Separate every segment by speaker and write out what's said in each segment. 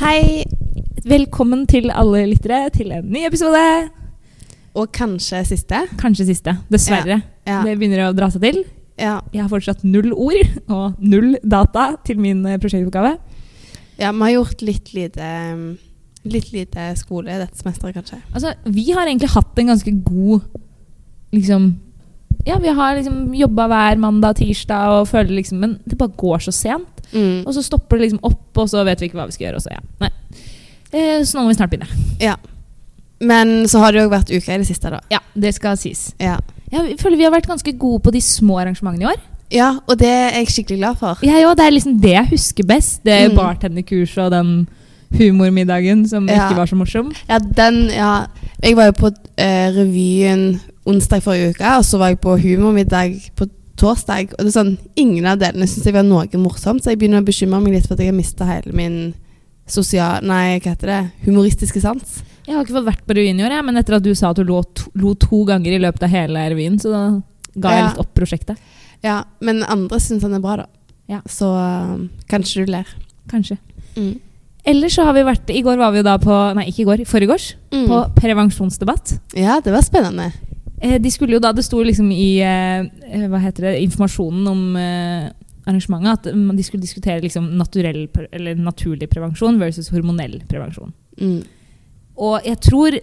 Speaker 1: Hei. Velkommen til alle lyttere til en ny episode.
Speaker 2: Og kanskje siste.
Speaker 1: Kanskje siste. Dessverre.
Speaker 2: Ja.
Speaker 1: Det begynner å dra seg til.
Speaker 2: Ja.
Speaker 1: Jeg har fortsatt null ord og null data til min eh, prosjektoppgave.
Speaker 2: ja, vi har gjort litt lite, um, litt lite skole dette semesteret, kanskje.
Speaker 1: Altså, vi har egentlig hatt en ganske god liksom Ja, vi har liksom jobba hver mandag, tirsdag og føler liksom Men det bare går så sent. Og så stopper det liksom opp, og så vet vi ikke hva vi skal gjøre. Og så, ja. Nei. Eh, så nå må vi snart begynne.
Speaker 2: Ja. Men så har det jo vært uke i det siste, da.
Speaker 1: Ja, det skal sies.
Speaker 2: Ja.
Speaker 1: Jeg føler vi har vært ganske gode på de små arrangementene i år.
Speaker 2: ja, og det er jeg skikkelig glad for.
Speaker 1: Jeg òg. Det er liksom det jeg husker best. Det
Speaker 2: Mm.
Speaker 1: bartenderkurset og den humormiddagen som
Speaker 2: Ja.
Speaker 1: ikke var så morsom.
Speaker 2: Ja, den, ja. Jeg var jo på eh, revyen onsdag forrige uke, og så var jeg på humormiddag på torsdag. Og det er sånn, ingen av delene syns jeg var noe morsomt, så jeg begynner å bekymre meg litt for at jeg har mista hele min sosial... Nei, hva heter det? Humoristiske sans.
Speaker 1: Jeg har ikke fått vært på revyen i år, jeg, men etter at du sa at du lo to, lo to ganger i løpet av hele revyen, så da ga jeg
Speaker 2: Ja.
Speaker 1: litt opp prosjektet.
Speaker 2: Ja, men andre syns han er bra, da.
Speaker 1: Ja. Mm.
Speaker 2: Så um, kanskje du ler.
Speaker 1: Kanskje. Ellers så har vi vært I går var vi jo da på Nei, ikke i går. I forgårs.
Speaker 2: Mm.
Speaker 1: På prevensjonsdebatt.
Speaker 2: Ja, det var spennende.
Speaker 1: Eh, de skulle jo da Det sto liksom i eh, eh, hva heter det, informasjonen om eh, arrangementet at mm, de skulle diskutere liksom naturell, pre- eller naturlig prevensjon versus hormonell prevensjon.
Speaker 2: Mm.
Speaker 1: Og jeg tror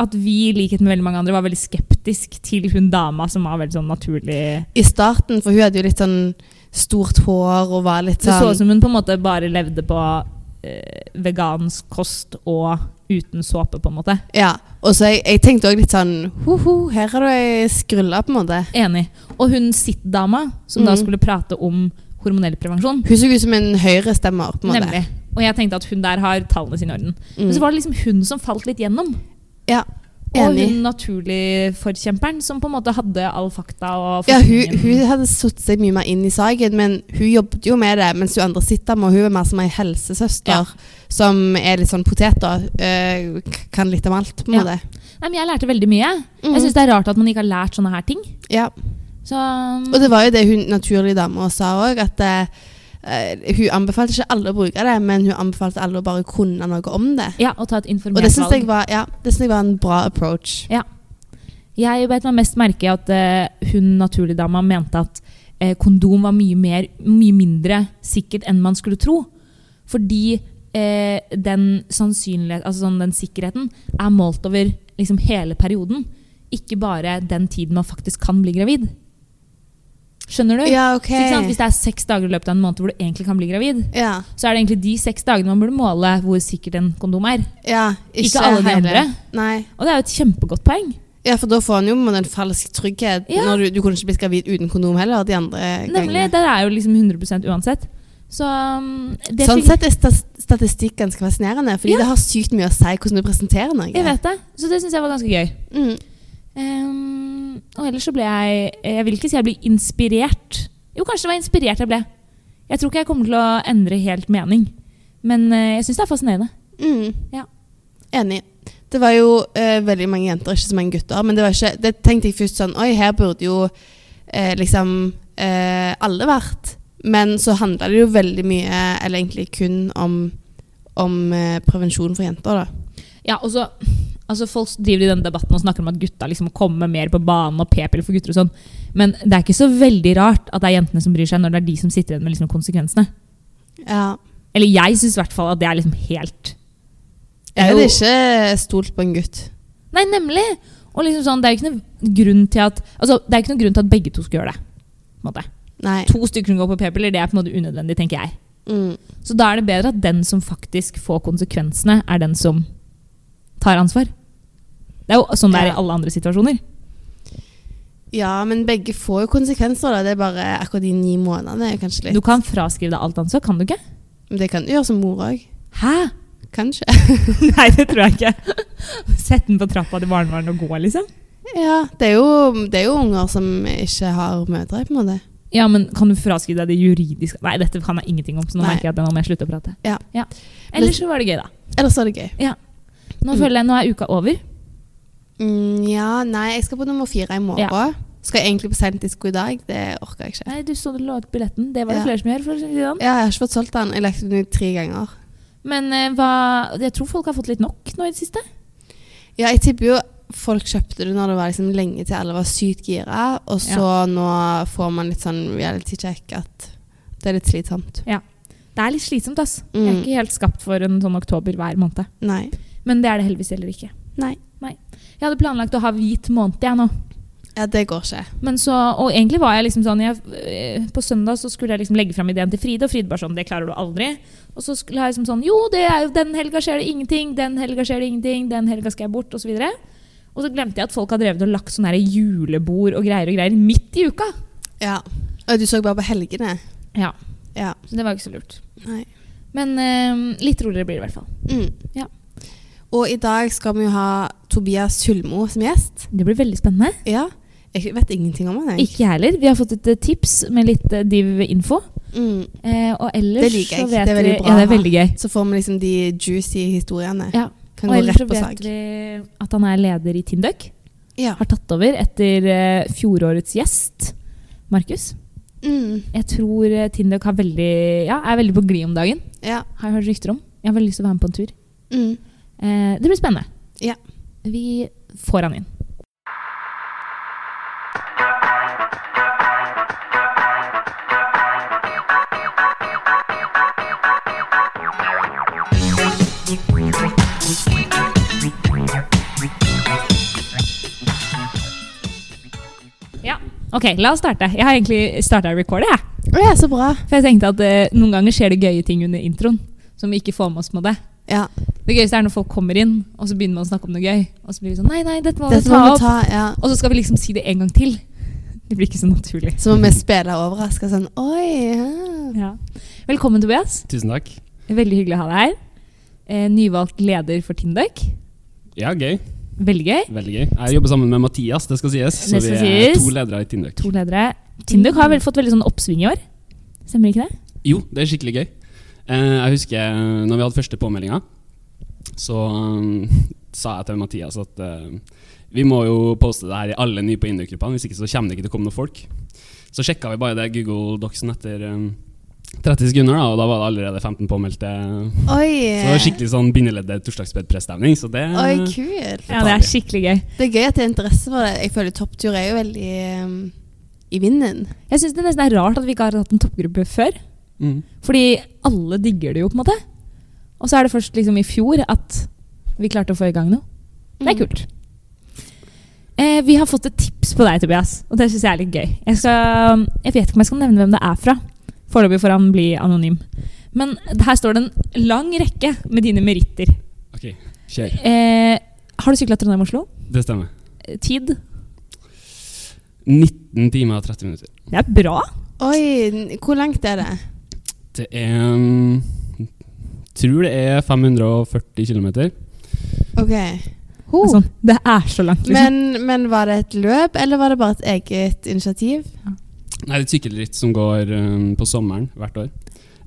Speaker 1: at vi, i likhet med veldig mange andre, var veldig skeptisk til hun dama som var veldig sånn naturlig
Speaker 2: I starten, for hun hadde jo litt sånn stort hår og var litt
Speaker 1: Det så
Speaker 2: sånn
Speaker 1: ut som hun på en måte bare levde på eh, vegansk kost og uten såpe, på en måte.
Speaker 2: Ja, og så jeg, jeg tenkte òg litt sånn Ho-ho, her har du ei skrulle, på en måte.
Speaker 1: Enig. Og hun sitt-dama, som da
Speaker 2: Mhm.
Speaker 1: skulle prate om hormonell prevensjon,
Speaker 2: Hun så ut som en høyrestemmer, på en måte.
Speaker 1: Nemlig. Og jeg tenkte at hun der har tallene sine i orden.
Speaker 2: Mm.
Speaker 1: Men så var det liksom hun som falt litt gjennom.
Speaker 2: Ja,
Speaker 1: Og
Speaker 2: enig.
Speaker 1: hun naturlig-forkjemperen som på en måte hadde all fakta. Og
Speaker 2: Ja, hun,
Speaker 1: forskningen.
Speaker 2: hun hadde satt seg mye mer inn i saken, men hun jobbet jo med det. Mens hun andre sitter med, og hun er mer som ei helsesøster
Speaker 1: Ja.
Speaker 2: som er litt sånn potet, da. Eh, k- Kan litt om alt, på en
Speaker 1: Ja.
Speaker 2: måte.
Speaker 1: Nei, men Jeg lærte veldig mye.
Speaker 2: Mm.
Speaker 1: Jeg syns det er rart at man ikke har lært sånne her ting.
Speaker 2: Ja.
Speaker 1: Så um,
Speaker 2: Og det var jo det hun naturlige dama sa òg, at eh, eh, hun anbefalte ikke alle å bruke det, men hun anbefalte alle å bare kunne noe om det.
Speaker 1: ja, å ta et
Speaker 2: Og
Speaker 1: informert
Speaker 2: det syns jeg,
Speaker 1: valg.
Speaker 2: var- ja, det synes jeg var en bra approach.
Speaker 1: Jeg beit meg mest merke i at eh, hun naturlig-dama mente at eh, kondom var mye, mer, mye mindre sikkert enn man skulle tro. Fordi eh, den, sannsynlighet- altså sånn, den sikkerheten er målt over liksom, hele perioden. Ikke bare den tiden man faktisk kan bli gravid. Skjønner du?
Speaker 2: Ja, ok.
Speaker 1: Så ikke sant? Hvis det er seks dager i løpet av en måned hvor du egentlig kan bli gravid,
Speaker 2: Ja,
Speaker 1: så er det egentlig de seks dagene man burde måle hvor sikkert en kondom er.
Speaker 2: ja, ikke,
Speaker 1: Ikke alle de
Speaker 2: hele.
Speaker 1: andre.
Speaker 2: Nei.
Speaker 1: Og det er jo et kjempegodt poeng.
Speaker 2: Ja, for da får han jo med en falsk trygghet.
Speaker 1: Ja.
Speaker 2: Når du, du kunne ikke blitt gravid uten kondom heller. de andre
Speaker 1: Nemlig.
Speaker 2: gangene.
Speaker 1: Der er jo liksom 100 uansett. Så um, det
Speaker 2: Sånn
Speaker 1: fikk-
Speaker 2: sett er stas- statistikk ganske fascinerende, fordi
Speaker 1: Ja.
Speaker 2: det har sykt mye å si hvordan du presenterer noe.
Speaker 1: Jeg vet det. Så det syns jeg var ganske gøy.
Speaker 2: Mm.
Speaker 1: Ehm, og ellers så ble jeg Jeg vil ikke si jeg ble inspirert. Jo, kanskje det var inspirert jeg ble. Jeg tror ikke jeg kommer til å endre helt mening. Men eh, jeg syns det er fascinerende.
Speaker 2: Mm.
Speaker 1: Ja.
Speaker 2: Enig. Det var jo eh, veldig mange jenter, ikke så mange gutter. Men det, var ikke, det tenkte jeg først sånn Oi, her burde jo eh, liksom eh, alle vært. Men så handla det jo veldig mye, eller egentlig kun om, om eh, prevensjon for jenter, da.
Speaker 1: Ja, og så Altså Folk driver i denne debatten og snakker om at gutta liksom må komme mer på banen og p-piller for gutter og sånn. Men det er ikke så veldig rart at det er jentene som bryr seg, når det er de som sitter igjen med liksom konsekvensene.
Speaker 2: Ja.
Speaker 1: Eller jeg syns i hvert fall at det er liksom helt
Speaker 2: Jeg
Speaker 1: jo-
Speaker 2: hadde ikke stolt på en gutt.
Speaker 1: Nei, nemlig! Og liksom sånn, det er jo ikke noen grunn til at Altså, det er ikke noen grunn til at begge to skal gjøre det. På en måte.
Speaker 2: Nei.
Speaker 1: To stykker som går på p-piller, det er på en måte unødvendig, tenker jeg.
Speaker 2: Mm.
Speaker 1: Så da er det bedre at den som faktisk får konsekvensene, er den som tar ansvar. Det er jo sånn det er i
Speaker 2: Ja.
Speaker 1: alle andre situasjoner.
Speaker 2: Ja, men begge får jo konsekvenser, da. Det er bare akkurat de ni månedene er jo kanskje litt
Speaker 1: Du kan fraskrive deg alt ansvar, kan du ikke?
Speaker 2: Men det kan du gjøre som mor òg.
Speaker 1: Hæ?
Speaker 2: Kanskje.
Speaker 1: Nei, det tror jeg ikke. Sett den på trappa til barnevernet og gå, liksom.
Speaker 2: Ja, det er, jo, det er jo unger som ikke har mødre, på en måte.
Speaker 1: Ja, men kan du fraskrive deg det juridiske Nei, dette kan jeg ingenting om, så nå
Speaker 2: Nei.
Speaker 1: merker jeg at nå må jeg slutte å prate.
Speaker 2: Ja.
Speaker 1: Ellers så var det gøy, da.
Speaker 2: Ellers var det gøy.
Speaker 1: Nå
Speaker 2: Mm.
Speaker 1: føler jeg nå er uka over.
Speaker 2: Mm, ja, nei, jeg skal på nummer fire i morgen. Skal jeg egentlig på seint disko i dag. Det orker jeg ikke.
Speaker 1: Nei, du så du la ut billetten. Det var det
Speaker 2: Ja.
Speaker 1: flere som gjør. for å si det sånn.
Speaker 2: Ja, jeg har ikke fått solgt den. Jeg har lagt den ut tre ganger.
Speaker 1: Men eh, hva, jeg tror folk har fått litt nok nå i det siste.
Speaker 2: Ja, jeg tipper jo folk kjøpte det når det var liksom lenge til alle var sykt gira, og så nå får man litt sånn reality check at det er litt slitsomt.
Speaker 1: Det er litt slitsomt, ass. Jeg er
Speaker 2: Mm.
Speaker 1: ikke helt skapt for en sånn oktober hver måned.
Speaker 2: Nei.
Speaker 1: Men det er det heldigvis heller ikke.
Speaker 2: Nei.
Speaker 1: Jeg hadde planlagt å ha hvit måned jeg nå.
Speaker 2: Ja, det går ikke.
Speaker 1: Men så, og egentlig var jeg liksom sånn jeg, eh, På søndag så skulle jeg liksom legge fram ideen til Fride, og Fride bare sånn Det klarer du aldri. Og så skulle jeg liksom sånn Jo, det er jo, den helga skjer det ingenting, den helga skjer det ingenting, den helga skal jeg bort, og så videre. Og så glemte jeg at folk har drevet og lagt sånne her julebord og greier og greier midt i uka.
Speaker 2: Ja. Og du så bare på helgene.
Speaker 1: Ja,
Speaker 2: Ja.
Speaker 1: Så det var jo ikke så lurt.
Speaker 2: Nei.
Speaker 1: Men eh, litt roligere blir det i hvert fall.
Speaker 2: Mm.
Speaker 1: Ja.
Speaker 2: Og i dag skal vi jo ha Tobias Sylmo som gjest.
Speaker 1: Det blir veldig spennende.
Speaker 2: Ja. Jeg vet ingenting om han, jeg.
Speaker 1: Ikke jeg heller. Vi har fått et eh, tips med litt eh, div-info.
Speaker 2: Mm.
Speaker 1: Eh, og ellers
Speaker 2: Det liker jeg.
Speaker 1: så vet
Speaker 2: Det er veldig
Speaker 1: vi- Ja, det
Speaker 2: bra å ha.
Speaker 1: er veldig gøy.
Speaker 2: Så får vi liksom de juicy historiene.
Speaker 1: Ja.
Speaker 2: Kan
Speaker 1: Og
Speaker 2: gå
Speaker 1: ellers
Speaker 2: rett
Speaker 1: så
Speaker 2: på
Speaker 1: vet
Speaker 2: sak.
Speaker 1: vi at han er leder i Tindøk.
Speaker 2: Ja.
Speaker 1: Har tatt over etter eh, fjorårets gjest, Markus.
Speaker 2: Mm.
Speaker 1: Jeg tror eh, Tindøk har veldig, ja, er veldig på glid om dagen.
Speaker 2: Ja.
Speaker 1: Har jeg hørt rykter om. Jeg har veldig lyst til å være med på en tur.
Speaker 2: Mm.
Speaker 1: Eh, det blir spennende.
Speaker 2: Ja.
Speaker 1: Vi får han inn. Ja, Ok, la oss starte. Jeg har egentlig starta recordet, jeg.
Speaker 2: Å ja, så bra.
Speaker 1: For jeg tenkte at eh, noen ganger skjer det gøye ting under introen som vi ikke får med oss med det.
Speaker 2: Ja.
Speaker 1: Det gøyeste er når folk kommer inn, og så begynner man å snakke om noe gøy. Og så blir det sånn Nei, nei, dette må
Speaker 2: Dette
Speaker 1: vi ta
Speaker 2: må vi
Speaker 1: opp.
Speaker 2: ta. Ja.
Speaker 1: Og så skal vi liksom si det en gang til. Det blir ikke så naturlig.
Speaker 2: Så må vi spille overraska sånn Oi! Ja.
Speaker 1: Ja. Velkommen, Tobias.
Speaker 3: Tusen takk.
Speaker 1: Veldig hyggelig å ha deg her. Eh, nyvalgt leder for Tindøk.
Speaker 3: Ja, gøy.
Speaker 1: Veldig gøy.
Speaker 3: Veldig gøy. Jeg jobber sammen med Mathias, det skal sies. Så
Speaker 1: Det skal
Speaker 3: vi er
Speaker 1: sies.
Speaker 3: to ledere i Tindøk.
Speaker 1: To ledere. Tindøk har vel fått veldig sånn oppsving i år? Stemmer ikke det?
Speaker 3: Jo, det er skikkelig gøy. Eh, Jeg husker eh, når vi hadde første påmeldinga, så eh, sa jeg til Mathias at eh, vi må jo poste det her i alle nye på Induk-gruppene, hvis ikke så kommer det ikke til å komme noen folk. Så sjekka vi bare det Google Docsen etter eh, 30 sekunder, da, og da var det allerede 15 påmeldte.
Speaker 2: Oi! eh,
Speaker 3: Så det var skikkelig sånn bindeleddet torsdagsbedpressstemning, så det
Speaker 2: Oi, kult.
Speaker 1: Ja, det er skikkelig gøy.
Speaker 2: Det er gøy at det er interesse for det. Jeg føler topptur er jo veldig ehm, i vinden.
Speaker 1: Jeg syns det nesten er rart at vi ikke har hatt en toppgruppe før.
Speaker 3: Mm.
Speaker 1: Fordi alle digger det jo, på en måte. Og så er det først liksom i fjor at vi klarte å få i gang noe. Det
Speaker 2: Mm.
Speaker 1: er kult. Eh, vi har fått et tips på deg, Tobias, og det syns jeg er litt gøy. Jeg, skal, jeg vet ikke om jeg skal nevne hvem det er fra. Foreløpig får han bli anonym. Men her står det en lang rekke med dine meritter.
Speaker 3: Ok, kjør.
Speaker 1: Eh, har du sykla Trondheim-Oslo?
Speaker 3: Det stemmer.
Speaker 1: Eh, Tid?
Speaker 3: 19 timer og 30 minutter.
Speaker 1: Det er bra.
Speaker 2: Oi, n- hvor langt er det?
Speaker 3: Det er um, Tror det er 540 km.
Speaker 2: Ok.
Speaker 1: Det er Sånn, det er så langt, liksom.
Speaker 2: Men, men var det et løp, eller var det bare et eget initiativ?
Speaker 3: Nei, det er et sykkelritt som går um, på sommeren hvert år.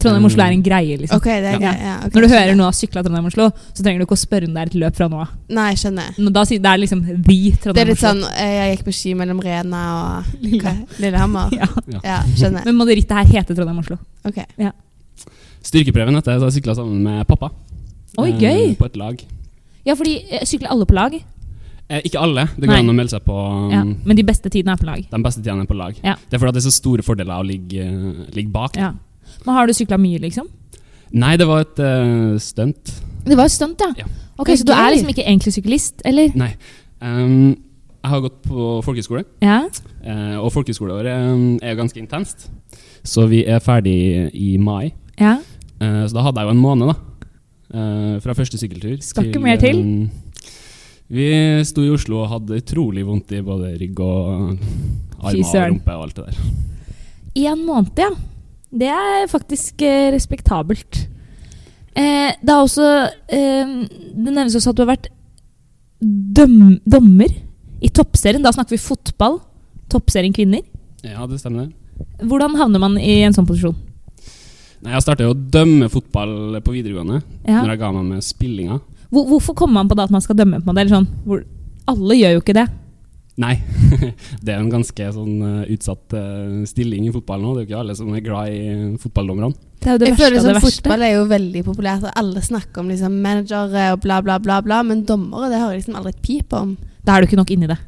Speaker 1: Trondheim-Oslo er en greie, liksom.
Speaker 2: Ok, det er
Speaker 3: Ja.
Speaker 2: gøy. Ja,
Speaker 1: Når
Speaker 2: ok,
Speaker 1: du
Speaker 2: skjønner.
Speaker 1: hører noen har sykla Trondheim-Oslo, så trenger du ikke å spørre om det er et løp fra nå av.
Speaker 2: Nei, jeg skjønner.
Speaker 1: Men da sier det er liksom vi
Speaker 2: Det er
Speaker 1: Trondheim
Speaker 2: litt sånn eh, Jeg gikk på ski mellom Rena og hva? Lillehammer.
Speaker 1: Ja.
Speaker 2: Ja, skjønner.
Speaker 1: Men må det rittet her hete Trondheim Oslo?
Speaker 2: Ok.
Speaker 3: Styrkeprøven etter så jeg sykla sammen med pappa.
Speaker 1: Oi,
Speaker 3: eh,
Speaker 1: gøy!
Speaker 3: På et lag.
Speaker 1: Ja, fordi eh, sykler alle på lag.
Speaker 3: Eh, ikke alle. Det
Speaker 1: Nei.
Speaker 3: går an å melde seg på um,
Speaker 1: Ja. Men de beste tidene er på lag.
Speaker 3: de beste tidene er på lag.
Speaker 1: Ja.
Speaker 3: Det er fordi at det er så store fordeler å ligge, eh, ligge bak.
Speaker 1: Ja. Men har du sykla mye, liksom?
Speaker 3: Nei, det var et eh, stunt.
Speaker 1: Det var jo stunt,
Speaker 3: Ja.
Speaker 1: Ok,
Speaker 2: Det er
Speaker 1: Så du er
Speaker 2: gøy.
Speaker 1: liksom ikke egentlig syklist, eller?
Speaker 3: Nei. Um, jeg har gått på folkehøyskole.
Speaker 1: Ja.
Speaker 3: Eh, og folkehøyskoleåret eh, er jo ganske intenst, så vi er ferdig i mai.
Speaker 1: ja.
Speaker 3: Eh, så da hadde jeg jo en måned, da. Eh, fra første sykkeltur.
Speaker 1: Skal ikke mer til?
Speaker 3: eh, vi sto i Oslo og hadde utrolig vondt i både rygg og
Speaker 1: Fy
Speaker 3: armer og
Speaker 1: søren.
Speaker 3: rumpe og alt det der.
Speaker 1: Én måned, ja. Det er faktisk eh, respektabelt. Eh, det er også eh, Det nevnes også at du har vært døm dommer i toppserien. Da snakker vi fotball. Toppserien kvinner.
Speaker 3: Ja, det stemmer det.
Speaker 1: Hvordan havner man i en sånn posisjon?
Speaker 3: Nei, Jeg starta jo å dømme fotball på videregående,
Speaker 1: Ja.
Speaker 3: når jeg ga meg med spillinga.
Speaker 1: Hvor, hvorfor kommer man på det at man skal dømme? på en måte? Eller sånn, hvor, alle gjør jo ikke det.
Speaker 3: Nei, det er jo en ganske sånn eh, utsatt eh, stilling i fotballen nå. Det er jo ikke alle som er glad i fotballdommerne.
Speaker 1: Det er jo det
Speaker 2: jeg
Speaker 1: verste
Speaker 2: føler
Speaker 1: av det
Speaker 2: liksom,
Speaker 1: verste.
Speaker 2: Fotball er jo veldig populært, og alle snakker om liksom, managere og bla, bla, bla, bla. Men dommere det hører jeg liksom aldri et pip om.
Speaker 1: Da er du ikke nok inni det.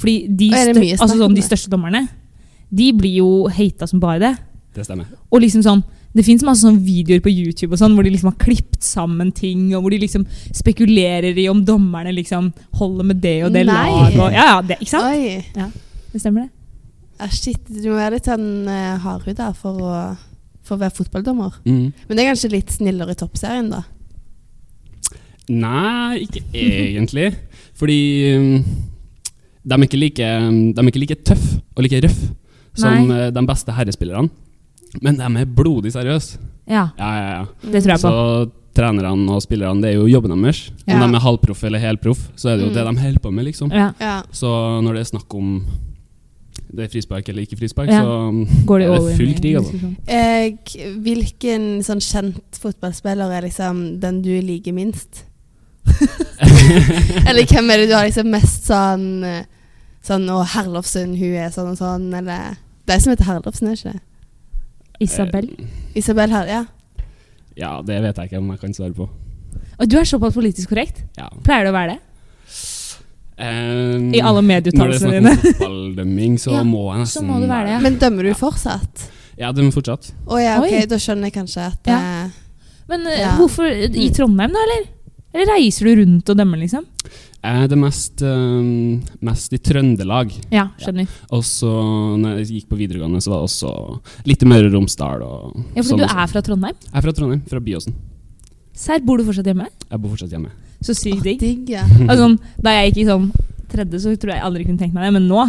Speaker 1: Fordi de,
Speaker 2: Og er det
Speaker 1: stør-
Speaker 2: mye snakk
Speaker 1: altså
Speaker 2: om
Speaker 1: sånn, de
Speaker 2: det?
Speaker 1: største dommerne De blir jo hata som bare det.
Speaker 3: Det stemmer.
Speaker 1: Og liksom sånn Det fins masse sånne videoer på YouTube og sånn, hvor de liksom har klippet sammen ting, og hvor de liksom spekulerer i om dommerne liksom holder med det og det
Speaker 2: Nei.
Speaker 1: laget. og- Ja, ja, det, ikke sant?
Speaker 2: Oi,
Speaker 1: Det stemmer det.
Speaker 2: ah, shit, du må være litt sånn uh, hardhuda for å, for å være fotballdommer.
Speaker 3: Mm.
Speaker 2: Men det er kanskje litt snillere i toppserien, da.
Speaker 3: Nei, ikke egentlig. Fordi um, de, er ikke like, um, de er ikke like tøff og like røff som
Speaker 1: Nei.
Speaker 3: eh, de beste herrespillerne. Men de er blodig seriøse.
Speaker 1: Ja,
Speaker 3: Ja, ja, ja.
Speaker 1: det tror jeg
Speaker 3: Så
Speaker 1: på.
Speaker 3: trenerne og spillerne, det er jo jobben deres. Om
Speaker 2: Ja.
Speaker 3: de er halvproff eller helproff, så er det jo
Speaker 2: Mm.
Speaker 3: det de holder på med, liksom.
Speaker 1: Ja,
Speaker 2: Ja.
Speaker 3: Så når det er snakk om det er frispark eller ikke frispark,
Speaker 1: Ja.
Speaker 3: så um,
Speaker 1: Går det
Speaker 3: er
Speaker 1: over
Speaker 3: det full
Speaker 1: i-
Speaker 3: krig, altså.
Speaker 2: Eh, k- hvilken sånn kjent fotballspiller er liksom den du liker minst? eller hvem er det du har liksom mest sånn eh, Sånn Å, Herlofsen, hun er sånn og sånn, eller Det er som heter Herlofsen, er det ikke det?
Speaker 1: Eh, Isabel.
Speaker 2: Isabel Her, ja.
Speaker 3: Ja, det vet jeg ikke om jeg kan svare på.
Speaker 1: Og du er såpass politisk korrekt.
Speaker 3: Ja.
Speaker 1: Pleier det å være det?
Speaker 3: Um,
Speaker 1: I alle
Speaker 3: Når det er
Speaker 1: medieuttalelsene
Speaker 3: snakk
Speaker 1: dine.
Speaker 3: om fotballdømming, så
Speaker 1: Ja,
Speaker 3: må jeg
Speaker 1: så
Speaker 3: nesten
Speaker 1: må du være det, ja.
Speaker 2: Men dømmer du fortsatt?
Speaker 3: Ja, det må fortsatt.
Speaker 2: Å ja, ok,
Speaker 1: Oi.
Speaker 2: da skjønner jeg kanskje at
Speaker 1: Ja.
Speaker 2: eh,
Speaker 1: Men eh,
Speaker 2: Ja.
Speaker 1: hvorfor i Trondheim, da, eller? Eller reiser du rundt og dømmer, liksom?
Speaker 3: Jeg er Eh, det mest, øhm, mest i Trøndelag.
Speaker 1: Ja, skjønner. Ja,
Speaker 3: Og så når jeg gikk på videregående, så var det også litt Møre og Romsdal. Og
Speaker 1: fordi
Speaker 3: sånn
Speaker 1: du
Speaker 3: også.
Speaker 1: er fra Trondheim.
Speaker 3: Jeg er fra Trondheim, fra Byåsen.
Speaker 1: Serr, bor du fortsatt hjemme?
Speaker 3: Jeg bor fortsatt hjemme.
Speaker 1: Så sykt
Speaker 2: å,
Speaker 1: digg.
Speaker 2: digg, ja.
Speaker 1: Altså, sånn, da jeg gikk i sånn tredje, så tror jeg aldri kunne tenkt meg det, men nå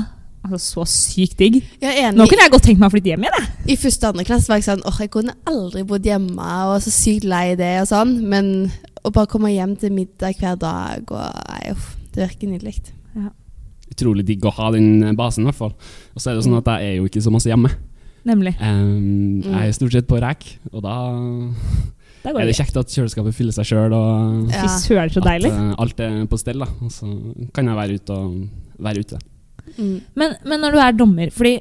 Speaker 1: Altså, så sykt digg.
Speaker 2: Jeg er
Speaker 1: Nå
Speaker 2: enig.
Speaker 1: kunne jeg godt tenkt meg å flytte hjem igjen, jeg.
Speaker 2: I første og andre klasse var jeg sånn åh, jeg kunne aldri bodd hjemme, og så sykt lei det og sånn. Men å bare komme hjem til middag hver dag og nei, uff, det virker nydelig.
Speaker 3: Utrolig digg å ha den eh, basen, i hvert fall. Og så er det jo sånn at jeg er jo ikke så masse hjemme.
Speaker 1: Nemlig. Mm.
Speaker 3: Ehm, jeg er stort sett på rek, og da
Speaker 1: Der
Speaker 3: er
Speaker 1: går
Speaker 3: det
Speaker 1: det.
Speaker 3: kjekt at kjøleskapet fyller seg sjøl, og
Speaker 1: Fy søren, så
Speaker 3: at
Speaker 1: deilig.
Speaker 3: eh, alt er på stell. da. Og så kan jeg være ute og være ute.
Speaker 2: Mm.
Speaker 1: Men, men når du er dommer Fordi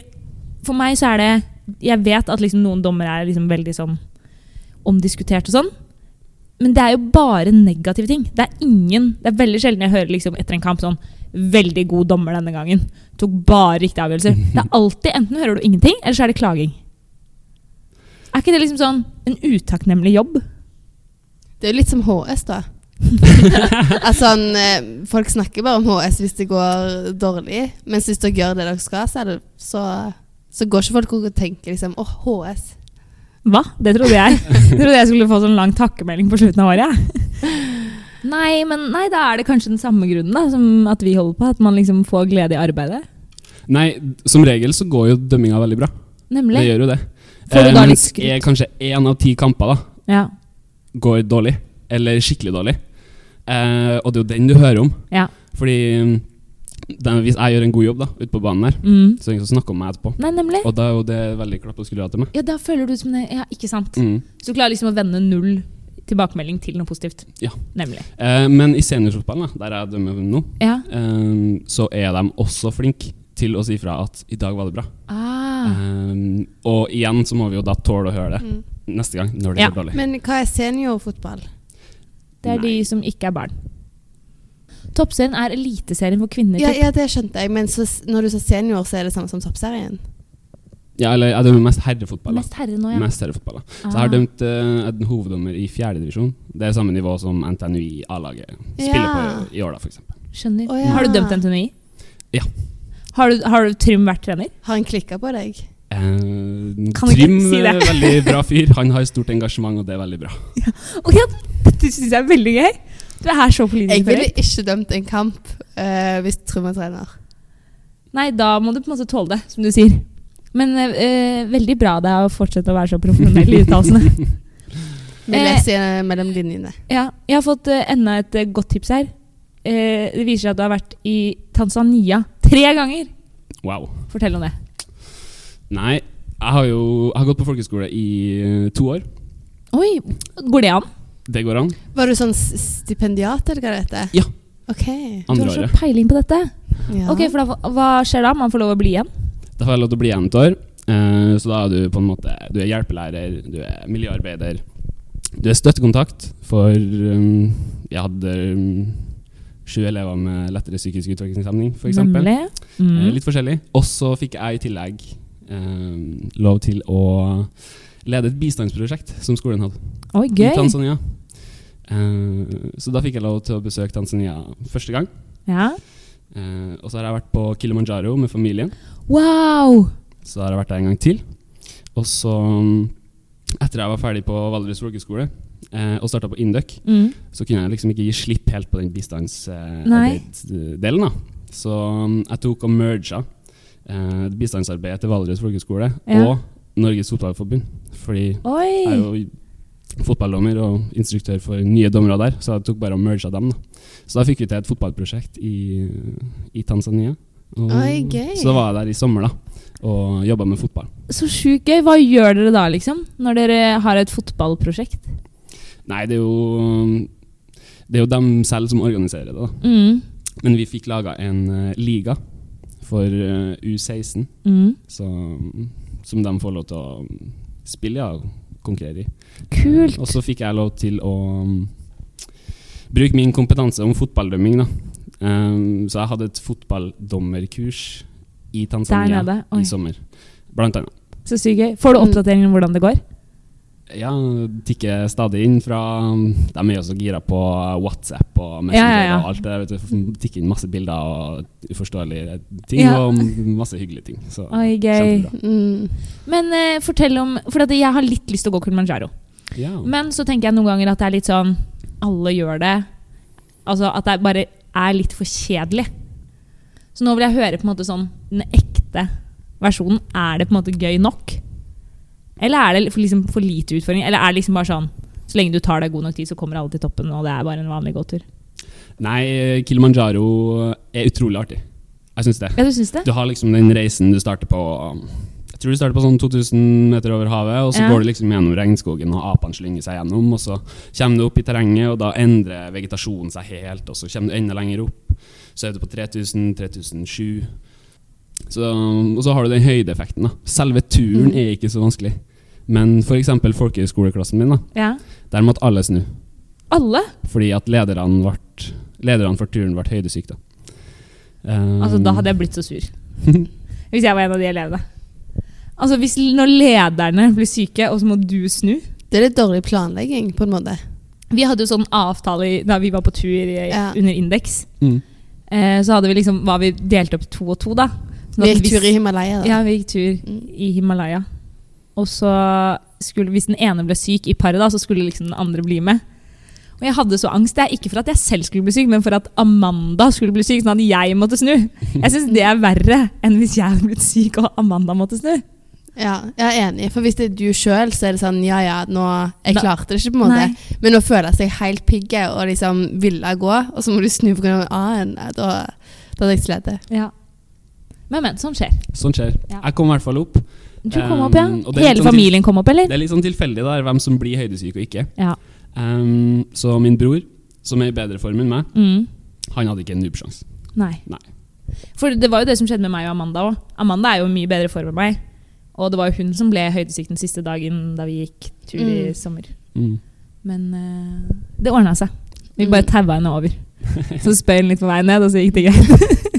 Speaker 1: for meg så er det Jeg vet at liksom noen dommer er liksom veldig sånn omdiskutert og sånn. Men det er jo bare negative ting. Det er ingen Det er veldig sjelden jeg hører liksom etter en kamp sånn Veldig god dommer denne gangen. Tok bare riktige avgjørelser. Det er alltid Enten hører du ingenting, eller så er det klaging. Er ikke det liksom sånn en utakknemlig jobb?
Speaker 2: Det er jo litt som HS, da. altså, han, eh, folk snakker bare om HS hvis det går dårlig, mens hvis dere gjør det dere skal, så, er det, så, så går ikke folk og tenker liksom åh, HS.
Speaker 1: Hva? Det trodde jeg. Jeg trodde jeg skulle få sånn lang takkemelding på slutten av året. jeg. Nei, men nei, da er det kanskje den samme grunnen da, som at vi holder på. At man liksom får glede i arbeidet.
Speaker 3: Nei, som regel så går jo dømminga veldig bra. Det
Speaker 1: Nemlig.
Speaker 3: gjør jo det.
Speaker 1: Får du
Speaker 3: Eh,
Speaker 1: da litt
Speaker 3: mens
Speaker 1: skryt?
Speaker 3: er kanskje én av ti kamper da,
Speaker 1: Ja.
Speaker 3: går dårlig, eller skikkelig dårlig. Eh, og det er jo den du hører om.
Speaker 1: ja.
Speaker 3: Fordi mm, den, hvis jeg gjør en god jobb da, ute på banen her,
Speaker 1: Mm.
Speaker 3: så er det ingen som snakker om meg etterpå.
Speaker 1: Nei, nemlig.
Speaker 3: Og da er jo det veldig klapp på skuldra til meg.
Speaker 1: Ja, da føler du som det. Ja, ikke sant.
Speaker 3: Mm.
Speaker 1: Så du klarer liksom å vende null tilbakemelding til noe positivt.
Speaker 3: Ja.
Speaker 1: Nemlig.
Speaker 3: Eh, men i seniorfotballen, da, der jeg dømmer nå,
Speaker 1: Ja.
Speaker 3: eh, så er de også flinke til å si fra at i dag var det bra.
Speaker 1: Ah.
Speaker 3: Eh, og igjen så må vi jo da tåle å høre det
Speaker 2: Mm.
Speaker 3: neste gang når det
Speaker 1: Ja.
Speaker 3: går dårlig.
Speaker 2: Men hva er seniorfotball?
Speaker 1: Det er de
Speaker 3: Nei.
Speaker 1: som ikke er barn. Toppserien er eliteserien for kvinner.
Speaker 2: Ja,
Speaker 1: til-
Speaker 2: ja, det skjønte jeg, men så, s- når du sa senior, så er det samme som toppserien?
Speaker 3: Ja, eller jeg dømmer mest herrefotball. da.
Speaker 1: Mest herre nå, ja.
Speaker 3: Mest herrefotball. da. Så jeg har
Speaker 1: Ah.
Speaker 3: dømt eh, en hoveddommer i fjerdedivisjon. Det er samme nivå som NTNUI A-laget spiller
Speaker 2: Ja.
Speaker 3: på i år, da, f.eks.
Speaker 1: Skjønner.
Speaker 2: Å, ja.
Speaker 1: Har du dømt NTNUI?
Speaker 3: Ja.
Speaker 1: Har du, har du Trym vært trener?
Speaker 2: Har han klikka på deg?
Speaker 3: Eh,
Speaker 1: Kan ikke
Speaker 3: Trym
Speaker 1: si det.
Speaker 3: er en veldig bra fyr. Han har stort engasjement, og det er veldig bra.
Speaker 1: Ok, Dette syns jeg er veldig gøy. Du er her så politisk
Speaker 2: Jeg ville
Speaker 1: korrekt.
Speaker 2: ikke dømt en kamp eh, hvis Trym var trener.
Speaker 1: Nei, da må du på en måte tåle det, som du sier. Men eh, eh, veldig bra av deg å fortsette å være så profesjonell i uttalelsene.
Speaker 2: Vi
Speaker 1: Eh.
Speaker 2: leser eh, mellom linjene.
Speaker 1: Ja, jeg har fått eh, enda et eh, godt tips her. Eh, det viser seg at du har vært i Tanzania tre ganger.
Speaker 3: Wow.
Speaker 1: Fortell om det.
Speaker 3: Nei, jeg har jo jeg har gått på folkeskole i eh, to år.
Speaker 1: Oi, går det an?
Speaker 3: Det går an.
Speaker 2: Var du sånn s- stipendiat, eller hva det heter?
Speaker 3: Ja.
Speaker 2: Ok.
Speaker 1: Du
Speaker 3: Andre
Speaker 1: har så
Speaker 3: året.
Speaker 1: peiling på dette.
Speaker 2: Ja.
Speaker 1: Ok, for da, Hva skjer da? Man får lov å bli igjen?
Speaker 3: Da får jeg lov til å bli igjen et år. Eh, Eh, så da er du på en måte Du er hjelpelærer, du er miljøarbeider. Du er støttekontakt for um, Jeg hadde um, sju elever med lettere psykisk utviklingshemning, f.eks.
Speaker 1: Nemlig. Mm.
Speaker 3: Eh, Litt forskjellig. Og så fikk jeg i tillegg eh, lov til å lede et bistandsprosjekt som skolen hadde
Speaker 1: Oi,
Speaker 3: i
Speaker 1: gøy.
Speaker 3: Tanzania. Eh, så da fikk jeg lov til å besøke Tanzania første gang.
Speaker 1: Ja.
Speaker 3: Eh, og så har jeg vært på Kilimanjaro med familien,
Speaker 1: Wow!
Speaker 3: så har jeg vært der en gang til. Og så, mm, etter jeg var ferdig på Valdres folkeskole eh, og starta på Induc,
Speaker 1: Mm.
Speaker 3: så kunne jeg liksom ikke gi slipp helt på den
Speaker 1: Nei.
Speaker 3: bistandsdelen. da. Så mm, jeg tok og merga eh, bistandsarbeidet til Valdres Folkehøgskole
Speaker 1: Ja.
Speaker 3: og Norges Fotballforbund. Fordi
Speaker 1: Oi!
Speaker 3: jeg er
Speaker 2: Mm.
Speaker 3: jo fotballdommer og instruktør for nye dommere der, så jeg tok bare og merga dem. da. Så da fikk vi til et fotballprosjekt i, i Tanzania. Og,
Speaker 2: Oi, gøy.
Speaker 3: så da var jeg der i sommer da, og jobba med fotball.
Speaker 1: Så sjukt gøy. Hva gjør dere da, liksom? Når dere har et fotballprosjekt?
Speaker 3: Nei, det er jo det er jo dem selv som organiserer det. da.
Speaker 1: Mm.
Speaker 3: Men vi fikk laga en eh, liga for eh, U16,
Speaker 1: Mm.
Speaker 3: så, som de får lov til å spille ja, og konkurrere i.
Speaker 1: Kult.
Speaker 3: Og så fikk jeg lov til å mm, bruke min kompetanse om fotballdømming. Da. Ehm, så jeg hadde et fotballdommerkurs i Tanzania
Speaker 1: Der nede, oi.
Speaker 3: i sommer, blant annet.
Speaker 1: Så sykt gøy. Får du oppdatering om hvordan det går?
Speaker 3: Ja, tikker stadig inn fra um, De er jo så gira på WhatsApp og Messenger
Speaker 1: Ja, ja, ja.
Speaker 3: og alt det. Vet du, tikker inn masse bilder og uforståelige ting
Speaker 1: Ja.
Speaker 3: og masse hyggelige ting. Så
Speaker 1: Oi, gøy.
Speaker 3: kjempebra.
Speaker 2: Mm.
Speaker 1: Men eh, fortell om For at jeg har litt lyst til å gå Kilimanjaro.
Speaker 3: Ja.
Speaker 1: Men så tenker jeg noen ganger at det er litt sånn Alle gjør det. Altså at det bare er litt for kjedelig. Så nå vil jeg høre på en måte sånn den ekte versjonen. Er det på en måte gøy nok? Eller er det for, liksom for lite utfordring? Eller er det liksom bare sånn så lenge du tar deg god nok tid, så kommer alle til toppen, og det er bare en vanlig gåtur?
Speaker 3: Nei, Kilimanjaro er utrolig artig. Jeg syns det.
Speaker 1: Ja, du syns det?
Speaker 3: Du har liksom den reisen du starter på um, Jeg tror du starter på sånn 2000 meter over havet, og så
Speaker 1: Ja.
Speaker 3: går du liksom gjennom regnskogen, og apene slynger seg gjennom, og så kommer du opp i terrenget, og da endrer vegetasjonen seg helt, og så kommer du enda lenger opp. Så er du på 3000, 3007. Så, um, og så har du den høydeeffekten. da. Selve turen
Speaker 2: Mm.
Speaker 3: er ikke så vanskelig. Men f.eks. folkehøyskoleklassen min, da,
Speaker 1: Ja.
Speaker 3: der måtte alle snu.
Speaker 1: Alle?
Speaker 3: Fordi at lederne, ble, lederne for turen ble høydesyke. Da. Eh,
Speaker 1: Altså, da hadde jeg blitt så sur. Hvis jeg var en av de elevene. Altså, hvis l- Når lederne blir syke, og så må du snu
Speaker 2: Det er litt dårlig planlegging, på en måte.
Speaker 1: Vi hadde jo sånn avtale i- da vi var på tur i,
Speaker 2: Ja.
Speaker 1: under Indeks.
Speaker 3: mm.
Speaker 1: Eh, så hadde vi liksom, var vi delt opp to og to, da. Sånn
Speaker 2: Vi
Speaker 1: at
Speaker 2: gikk
Speaker 1: hvis-
Speaker 2: tur i Himalaya, da.
Speaker 1: Ja, vi gikk tur
Speaker 2: Mm.
Speaker 1: i Himalaya. Og så skulle, hvis den ene ble syk i paret, da, så skulle liksom den andre bli med. Og jeg hadde så angst. Det er ikke for at jeg selv skulle bli syk, men for at Amanda skulle bli syk, sånn at jeg måtte snu. Jeg syns det er verre enn hvis jeg hadde blitt syk og Amanda måtte snu.
Speaker 2: Ja, jeg er enig. For hvis det er du sjøl, så er det sånn ja ja, nå Jeg
Speaker 1: Da-
Speaker 2: klarte det ikke, på en måte.
Speaker 1: Nei.
Speaker 2: Men å føle seg helt pigge og liksom ville gå, og så må du snu på grunn av en annen, nei, da, da hadde jeg slitt.
Speaker 1: Ja. Men, men, sånn skjer.
Speaker 3: Sånt skjer.
Speaker 1: Ja.
Speaker 3: Jeg kom i hvert fall opp.
Speaker 1: Du kom
Speaker 3: Um,
Speaker 1: opp, ja.
Speaker 3: og det er
Speaker 1: Hele
Speaker 3: litt sånn til-
Speaker 1: familien kom opp, eller?
Speaker 3: Det er litt sånn tilfeldig der, hvem som blir høydesyk og ikke.
Speaker 1: Ja.
Speaker 3: Ehm, så min bror, som er i bedre form enn meg,
Speaker 1: Mm.
Speaker 3: han hadde ikke en nubbsjanse.
Speaker 1: Nei.
Speaker 3: Nei.
Speaker 1: For det var jo det som skjedde med meg og Amanda òg. Amanda er jo i mye bedre form enn meg. Og det var jo hun som ble høydesyk den siste dagen da vi gikk tur i
Speaker 2: Mm.
Speaker 1: sommer.
Speaker 3: Mm.
Speaker 1: Men eh, det ordna seg. Vi bare
Speaker 2: Mm.
Speaker 1: taua henne over. Så spøy hun litt på vei ned, og så gikk det greit.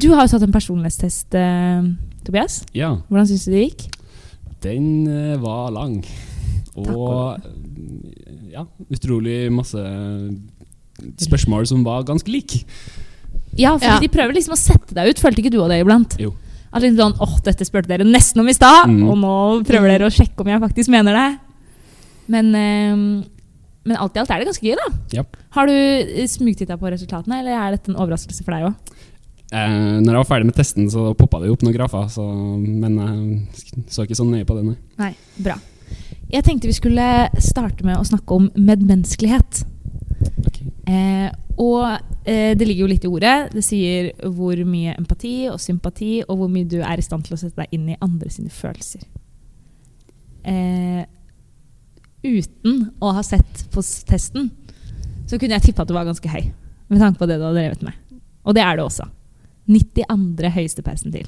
Speaker 1: Du har jo tatt en personlighetstest, eh, Tobias.
Speaker 3: Ja,
Speaker 1: Hvordan syns du det gikk?
Speaker 3: den eh, var lang.
Speaker 1: Takk
Speaker 3: Og
Speaker 1: og
Speaker 3: eh, ja, utrolig masse spørsmål som var ganske like.
Speaker 1: Ja, for
Speaker 2: Ja.
Speaker 1: de prøver liksom å sette deg ut. Følte ikke du av det iblant?
Speaker 3: Jo.
Speaker 1: At liksom sånn, åh, dette spurte dere nesten om i stad,
Speaker 3: Mm.
Speaker 1: og nå prøver dere å sjekke om jeg faktisk mener det. Men, eh, men alt i alt er det ganske gøy, da.
Speaker 3: Ja.
Speaker 1: Har du eh, smugtitta på resultatene, eller er dette en overraskelse for deg òg?
Speaker 3: Eh, når jeg var ferdig med testen, så poppa det jo opp noen grafer, så, men jeg så ikke så nøye på det, nei.
Speaker 1: Nei. Bra. Jeg tenkte vi skulle starte med å snakke om medmenneskelighet. Eh, og eh, det ligger jo litt i ordet. Det sier hvor mye empati og sympati, og hvor mye du er i stand til å sette deg inn i andre sine følelser. Eh, uten å ha sett på s- testen, så kunne jeg tippa at du var ganske høy. Med tanke på det du har drevet med. Og det er du også. 92. høyeste persentil.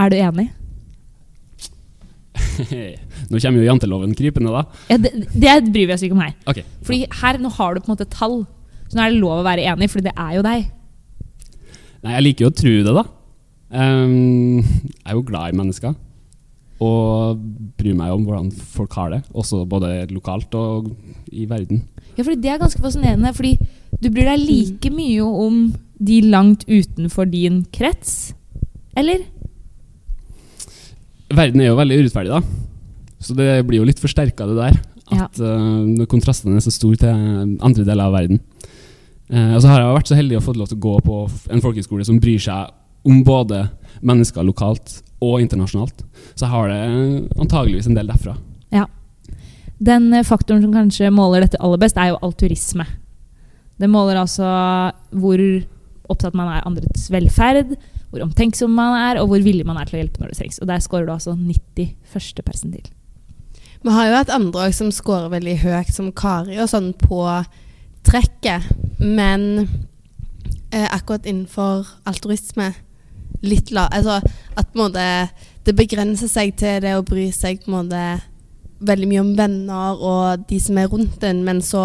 Speaker 1: Er du enig?
Speaker 3: Nå kommer jo janteloven krypende, da.
Speaker 1: Ja, det, det bryr vi oss ikke om her.
Speaker 3: Ok,
Speaker 1: Fordi her, nå har du på en måte tall. Så nå er det lov å være enig, fordi det er jo deg.
Speaker 3: Nei, jeg liker jo å tro det, da. Ehm, jeg er jo glad i mennesker. Og bryr meg om hvordan folk har det, også både lokalt og i verden.
Speaker 1: Ja, fordi det er ganske fascinerende, fordi du bryr deg like mye om de langt utenfor din krets, eller?
Speaker 3: Verden er jo veldig urettferdig, da. Så det blir jo litt forsterka, det der. At eh, når kontrasten er så stor til andre deler av verden. Eh, og så har jeg vært så heldig å få lov til å gå på f- en folkehøyskole som bryr seg om både mennesker lokalt og internasjonalt. Så jeg har det eh, antageligvis en del derfra.
Speaker 1: Den eh, faktoren som kanskje måler dette aller best, er jo alturisme. Det måler altså hvor opptatt man er andres velferd, hvor omtenksom man er, og hvor villig man er til å hjelpe når det trengs. Og der scorer du altså 91. persentil.
Speaker 2: Vi har jo hatt andre også som scorer veldig høyt, som Kari og sånn, på trekket. Men eh, akkurat innenfor altruisme litt la... Altså at på en måte det begrenser seg til det å bry seg på en måte veldig mye om venner og de som er rundt en, men så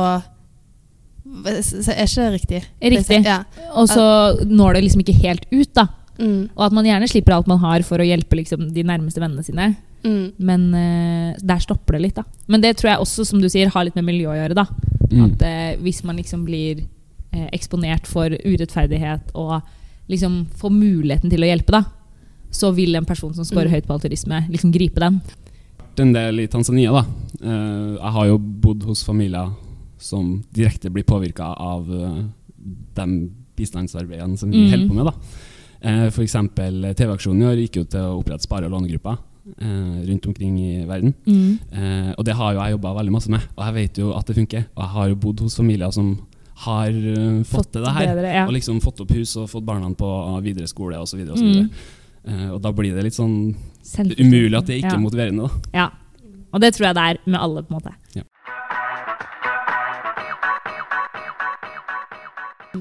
Speaker 2: så er ikke det riktig?
Speaker 1: Riktig.
Speaker 2: Ja.
Speaker 1: Og så når det liksom ikke helt ut, da.
Speaker 2: Mm,
Speaker 1: Og at man gjerne slipper alt man har for å hjelpe liksom, de nærmeste vennene sine.
Speaker 2: mm.
Speaker 1: Men eh, der stopper det litt, da. Men det tror jeg også, som du sier, har litt med miljø å gjøre, da.
Speaker 3: Mm.
Speaker 1: At eh, hvis man liksom blir eh, eksponert for urettferdighet og liksom får muligheten til å hjelpe, da, så vil en person som scorer
Speaker 2: Mm.
Speaker 1: høyt på alturisme, liksom gripe den.
Speaker 3: vært en del i Tanzania, da. Eh, jeg har jo bodd hos familier som direkte blir påvirka av eh, de bistandsarbeidene som vi
Speaker 1: Mhm.
Speaker 3: holder på med, da. Eh, for eksempel TV-aksjonen i år gikk jo til å opprette spare- og lånegrupper eh, rundt omkring i verden. Eh, og det har jo jeg jobba veldig masse med, og jeg vet jo at det funker. Og jeg har jo bodd hos familier som har eh, fått til det her.
Speaker 1: Bedre, ja.
Speaker 3: Og liksom fått opp hus og fått barna på eh, videre skole osv. Og, så videre.
Speaker 1: Mm.
Speaker 3: Eh, og da blir det litt sånn
Speaker 1: Selv-
Speaker 3: umulig at det ikke
Speaker 1: ja.
Speaker 3: er motiverende, da.
Speaker 1: Ja. Og det tror jeg det er med alle, på en måte.
Speaker 3: Ja.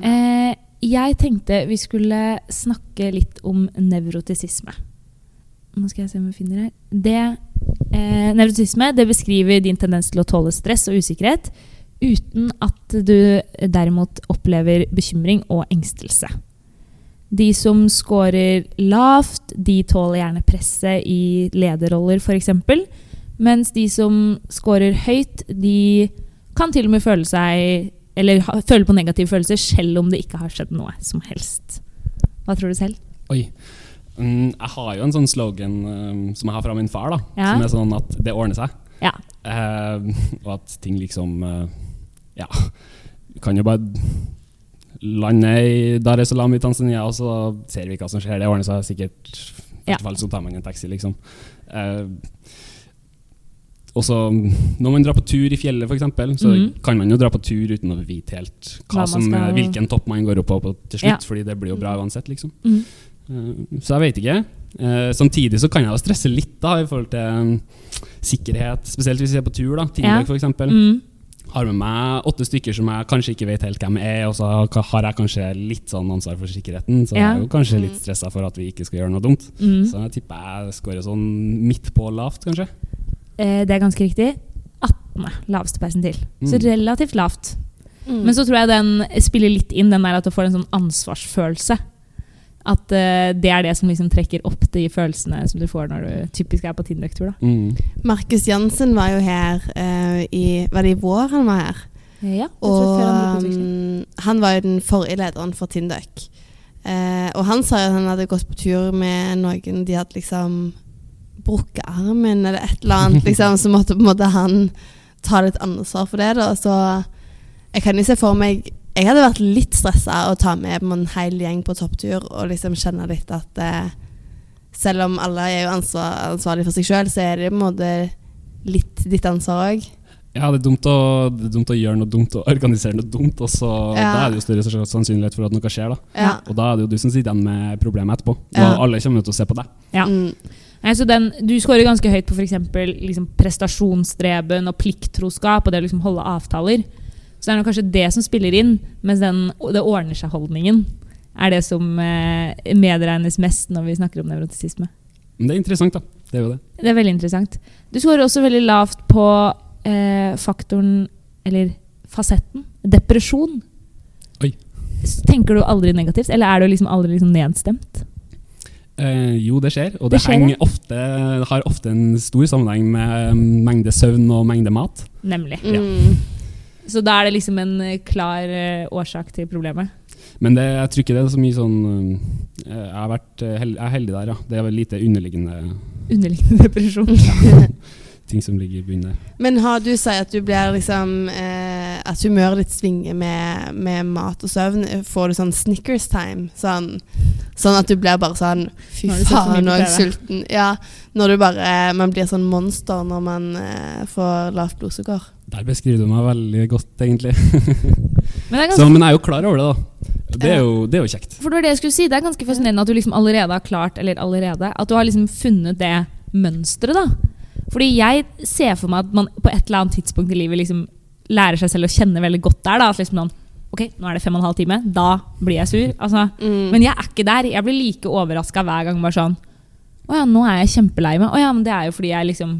Speaker 1: Eh, jeg tenkte vi skulle snakke litt om nevrotisisme. Nå skal jeg se om vi finner her. Det, eh, nevrotisisme det beskriver din tendens til å tåle stress og usikkerhet uten at du derimot opplever bekymring og engstelse. De som scorer lavt, de tåler gjerne presset i lederroller f.eks. Mens de som scorer høyt, de kan til og med føle seg Eller ha- føle på negative følelser selv om det ikke har skjedd noe som helst. Hva tror du selv?
Speaker 3: Oi. Mm, jeg har jo en sånn slogan eh, som jeg har fra min far, da.
Speaker 1: Ja.
Speaker 3: Som er sånn at det ordner seg.
Speaker 1: Ja.
Speaker 3: Eh, og at ting liksom eh, Ja. Du kan jo bare lande i Dar es Salaam i Tanzania, og så ser vi hva som skjer. Det ordner seg sikkert. I
Speaker 1: Ja.
Speaker 3: hvert fall så tar man en taxi, liksom. Eh, og så når man drar på tur i fjellet, f.eks., så
Speaker 1: Mhm.
Speaker 3: kan man jo dra på tur uten å vite helt
Speaker 1: Hva
Speaker 3: hva
Speaker 1: man
Speaker 3: som,
Speaker 1: skal-
Speaker 3: hvilken topp man går opp på til
Speaker 1: Ja.
Speaker 3: slutt, fordi det blir jo bra uansett, liksom.
Speaker 1: Mm.
Speaker 3: Eh, Så jeg vet ikke. Eh, Samtidig så kan jeg jo stresse litt da i forhold til eh, sikkerhet, spesielt hvis jeg er på tur. da
Speaker 1: Ja.
Speaker 3: Tingbæk for eksempel
Speaker 1: Mm.
Speaker 3: Har med meg åtte stykker som jeg kanskje ikke vet helt hvem er, og så ka- har jeg kanskje litt sånn ansvar for sikkerheten, så
Speaker 1: Ja.
Speaker 3: jeg er jo kanskje
Speaker 2: Mm.
Speaker 3: litt stressa for at vi ikke skal gjøre noe dumt.
Speaker 1: Mm.
Speaker 3: Så jeg tipper jeg scorer sånn midt på lavt, kanskje.
Speaker 1: Eh, det er ganske riktig. 18. laveste persentil. Så
Speaker 3: Mm.
Speaker 1: relativt lavt.
Speaker 2: Mm.
Speaker 1: Men så tror jeg den spiller litt inn, den der at du får en sånn ansvarsfølelse. At eh, det er det som liksom trekker opp de følelsene som du får når du typisk er på Tindøk-tur.
Speaker 3: Mm.
Speaker 2: Markus Jansen var jo her eh, i Var det i vår han var her?
Speaker 1: Ja,
Speaker 2: Og um, han var jo den forrige lederen for Tindøk. Eh, og han sa jo at han hadde gått på tur med noen de hadde liksom brukket armen eller et eller annet, liksom, så måtte på en måte han ta litt ansvar for det. Da. Så jeg kan jo se for meg Jeg hadde vært litt stressa å ta med en hel gjeng på topptur og liksom kjenne litt at eh, selv om alle er jo ansvar, ansvarlig for seg sjøl, så er det på en måte litt ditt ansvar òg.
Speaker 3: Ja, det er, dumt å, det er dumt å gjøre noe dumt og organisere noe dumt, og så
Speaker 2: Ja.
Speaker 3: da er det jo større sannsynlighet for at noe skjer. da
Speaker 1: Ja.
Speaker 3: Og da er det jo du som sitter igjen med problemet etterpå. Og
Speaker 2: Ja.
Speaker 3: alle kommer jo til å se på deg.
Speaker 1: Ja.
Speaker 2: Mm.
Speaker 1: Nei, så den, du scorer ganske høyt på f.eks. Liksom prestasjonsstreben og plikttroskap og det å liksom holde avtaler. Så det er nok kanskje det som spiller inn, mens den, det ordner seg-holdningen er det som eh, medregnes mest når vi snakker om nevrotisisme.
Speaker 3: Men det er interessant, da. Det er jo det.
Speaker 1: Det er veldig interessant. Du scorer også veldig lavt på eh, faktoren, eller fasetten, depresjon.
Speaker 3: Oi.
Speaker 1: S- Tenker du aldri negativt, eller er du liksom aldri liksom nedstemt?
Speaker 3: Eh, jo, det skjer, og
Speaker 1: Det
Speaker 3: det,
Speaker 1: skjer,
Speaker 3: henger ofte, har ofte en stor sammenheng med mm, mengde søvn og mengde mat.
Speaker 1: Nemlig.
Speaker 3: Ja.
Speaker 2: Mm.
Speaker 1: Så da er det liksom en eh, klar eh, årsak til problemet.
Speaker 3: Men det, jeg tror ikke det er så mye sånn eh, Jeg har vært eh, hel, jeg er heldig der, ja. Det er vel lite underliggende
Speaker 1: Underliggende depresjon.
Speaker 3: ting som ligger i bunnen der.
Speaker 2: Men har du sier at du blir liksom eh, At humøret ditt svinger med, med mat og søvn. Får du sånn Snickers time? Sånn, sånn at du blir bare sånn Fy
Speaker 1: Nå har du sett for mye
Speaker 2: faen, nå er jeg
Speaker 1: på
Speaker 2: sulten. Ja, når du bare Man blir sånn monster når man eh, får lavt blodsukker.
Speaker 3: Der beskriver du meg veldig godt, egentlig.
Speaker 1: Men det er
Speaker 3: Så,
Speaker 1: ganske,
Speaker 3: men jeg er jo klar over det, da. Det er jo, det er jo kjekt.
Speaker 1: for det var det jeg skulle si, det er ganske fascinerende at du liksom allerede har klart, eller allerede, at du har liksom funnet det mønstret, da. Fordi jeg ser for meg at man på et eller annet tidspunkt i livet liksom lærer seg selv å kjenne veldig godt der, da. At liksom sånn Ok, nå er det fem og en halv time. Da blir jeg sur. Altså,
Speaker 2: Mm.
Speaker 1: Men jeg er ikke der. Jeg blir like overraska hver gang. Bare sånn Å ja, nå er jeg kjempelei meg. Å ja, men det er jo fordi jeg liksom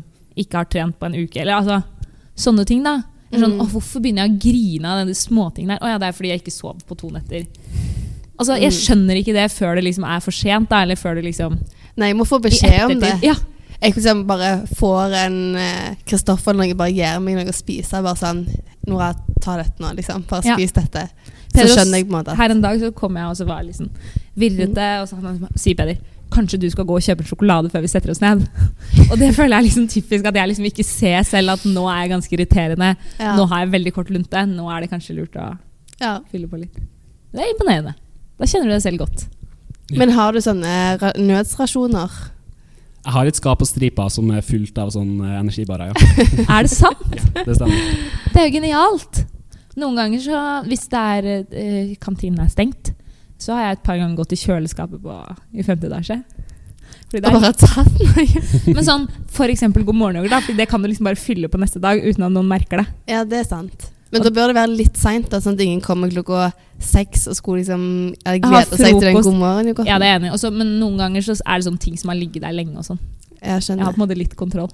Speaker 1: ikke har trent på en uke. Eller altså sånne ting, da. Eller Sånn,
Speaker 2: Mm.
Speaker 1: «Åh, hvorfor begynner jeg å grine av denne småtingen der? Å ja, det er fordi jeg ikke sov på to netter. Altså, Jeg
Speaker 2: Mm.
Speaker 1: skjønner ikke det før det liksom er for sent, da. Eller før det liksom i
Speaker 2: Nei, jeg må få beskjed om det.
Speaker 1: ettertid. Ja,
Speaker 2: Jeg liksom bare får en eh, Kristoffer eller noe, bare gir meg noe å spise. Bare sånn Nora, ta dette nå, liksom. Bare
Speaker 1: Ja.
Speaker 2: spis dette. Så
Speaker 1: Pedro,
Speaker 2: skjønner jeg på en måte.
Speaker 1: Her en dag så kom jeg og så var jeg liksom virrete,
Speaker 2: Mm.
Speaker 1: og så han liksom, sier Peder Kanskje du skal gå og kjøpe en sjokolade før vi setter oss ned? og det føler jeg er liksom typisk at jeg liksom ikke ser selv at nå er jeg ganske irriterende.
Speaker 2: Ja.
Speaker 1: Nå har jeg veldig kort lunte. Nå er det kanskje lurt å
Speaker 2: Ja.
Speaker 1: fylle på litt. Det er imponerende. Da kjenner du deg selv godt.
Speaker 3: Ja.
Speaker 2: Men har du sånne ra- nødsrasjoner?
Speaker 3: Jeg har et skap på stripa som er fullt av sånn eh, energibarer, ja.
Speaker 1: Er det sant?
Speaker 3: Det stemmer.
Speaker 1: Det er jo genialt! Noen ganger, så, hvis det er, eh, kantinen er stengt, så har jeg et par ganger gått i kjøleskapet på, i femte etasje. Fordi det
Speaker 2: Og
Speaker 1: er
Speaker 2: bare tatt noe?
Speaker 1: Men sånn, for eksempel god morgenyoghurt, da, for det kan du liksom bare fylle på neste dag uten at noen merker det.
Speaker 2: Ja, det er sant. Men da bør det være litt seint, sånn at ingen kommer klokka seks og skulle liksom eller
Speaker 1: Ha
Speaker 2: glede seg til den
Speaker 1: frokost.
Speaker 2: god morgen. Jo,
Speaker 1: Ja, det er jeg enig. i. Også, men noen ganger så er det sånn ting som har ligget der lenge og sånn.
Speaker 2: Jeg
Speaker 1: Jeg har
Speaker 2: skjønner.
Speaker 1: på en måte litt kontroll.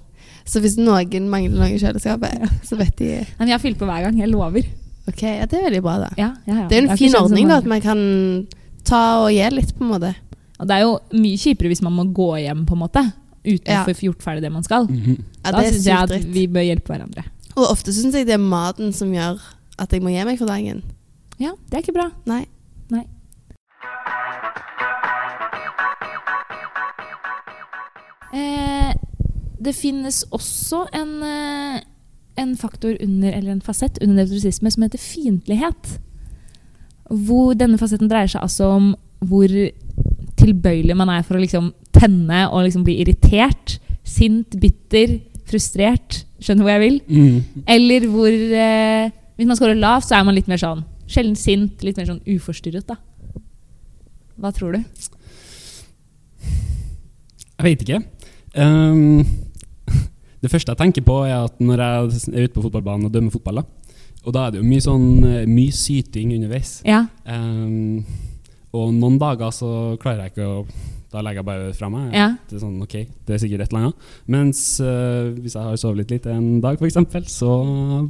Speaker 2: Så hvis noen mangler noe i kjøleskapet, så vet de
Speaker 1: Men jeg har fylt på hver gang, jeg lover.
Speaker 2: Ok, ja, det er veldig bra, da.
Speaker 1: Ja, ja, ja.
Speaker 2: Det er jo
Speaker 1: Jeg
Speaker 2: en
Speaker 1: har
Speaker 2: fin
Speaker 1: ikke kjent
Speaker 2: ordning,
Speaker 1: sånn
Speaker 2: da, at man kan ta og gi litt, på en måte.
Speaker 1: mange. Og det er jo mye kjipere hvis man må gå hjem, på en måte. Uten
Speaker 2: Ja.
Speaker 1: å få gjort ferdig det man skal.
Speaker 3: Mhm.
Speaker 2: Ja,
Speaker 1: da
Speaker 2: det er
Speaker 1: syns jeg
Speaker 2: sykt
Speaker 1: at
Speaker 2: dritt.
Speaker 1: vi bør hjelpe hverandre.
Speaker 2: Og ofte syns jeg det er maten som gjør at jeg må gi meg for dagen.
Speaker 1: Ja, det er ikke bra.
Speaker 2: Nei.
Speaker 1: Nei. Eh, det finnes også en, eh, en faktor under, eller en fasett under nevrotisisme som heter fiendtlighet. Hvor denne fasetten dreier seg altså om hvor tilbøyelig man er for å liksom tenne og liksom bli irritert, sint, bitter, frustrert. Skjønner hvor jeg vil?
Speaker 3: Mhm.
Speaker 1: Eller hvor eh, Hvis man scorer lavt, så er man litt mer sånn sjelden sint, litt mer sånn uforstyrret, da. Hva tror du?
Speaker 3: Jeg vet ikke. Ehm, det første jeg tenker på, er at når jeg er ute på fotballbanen og dømmer fotball, da, og da er det jo mye, sånn, eh, mye syting underveis.
Speaker 1: Ja.
Speaker 3: Ehm, og noen dager så klarer jeg ikke å Da legger jeg bare fra meg.
Speaker 1: Ja.
Speaker 3: Det er sånn, ok, det er sikkert et eller annet. Mens eh, hvis jeg har sovet litt lite en dag, f.eks., så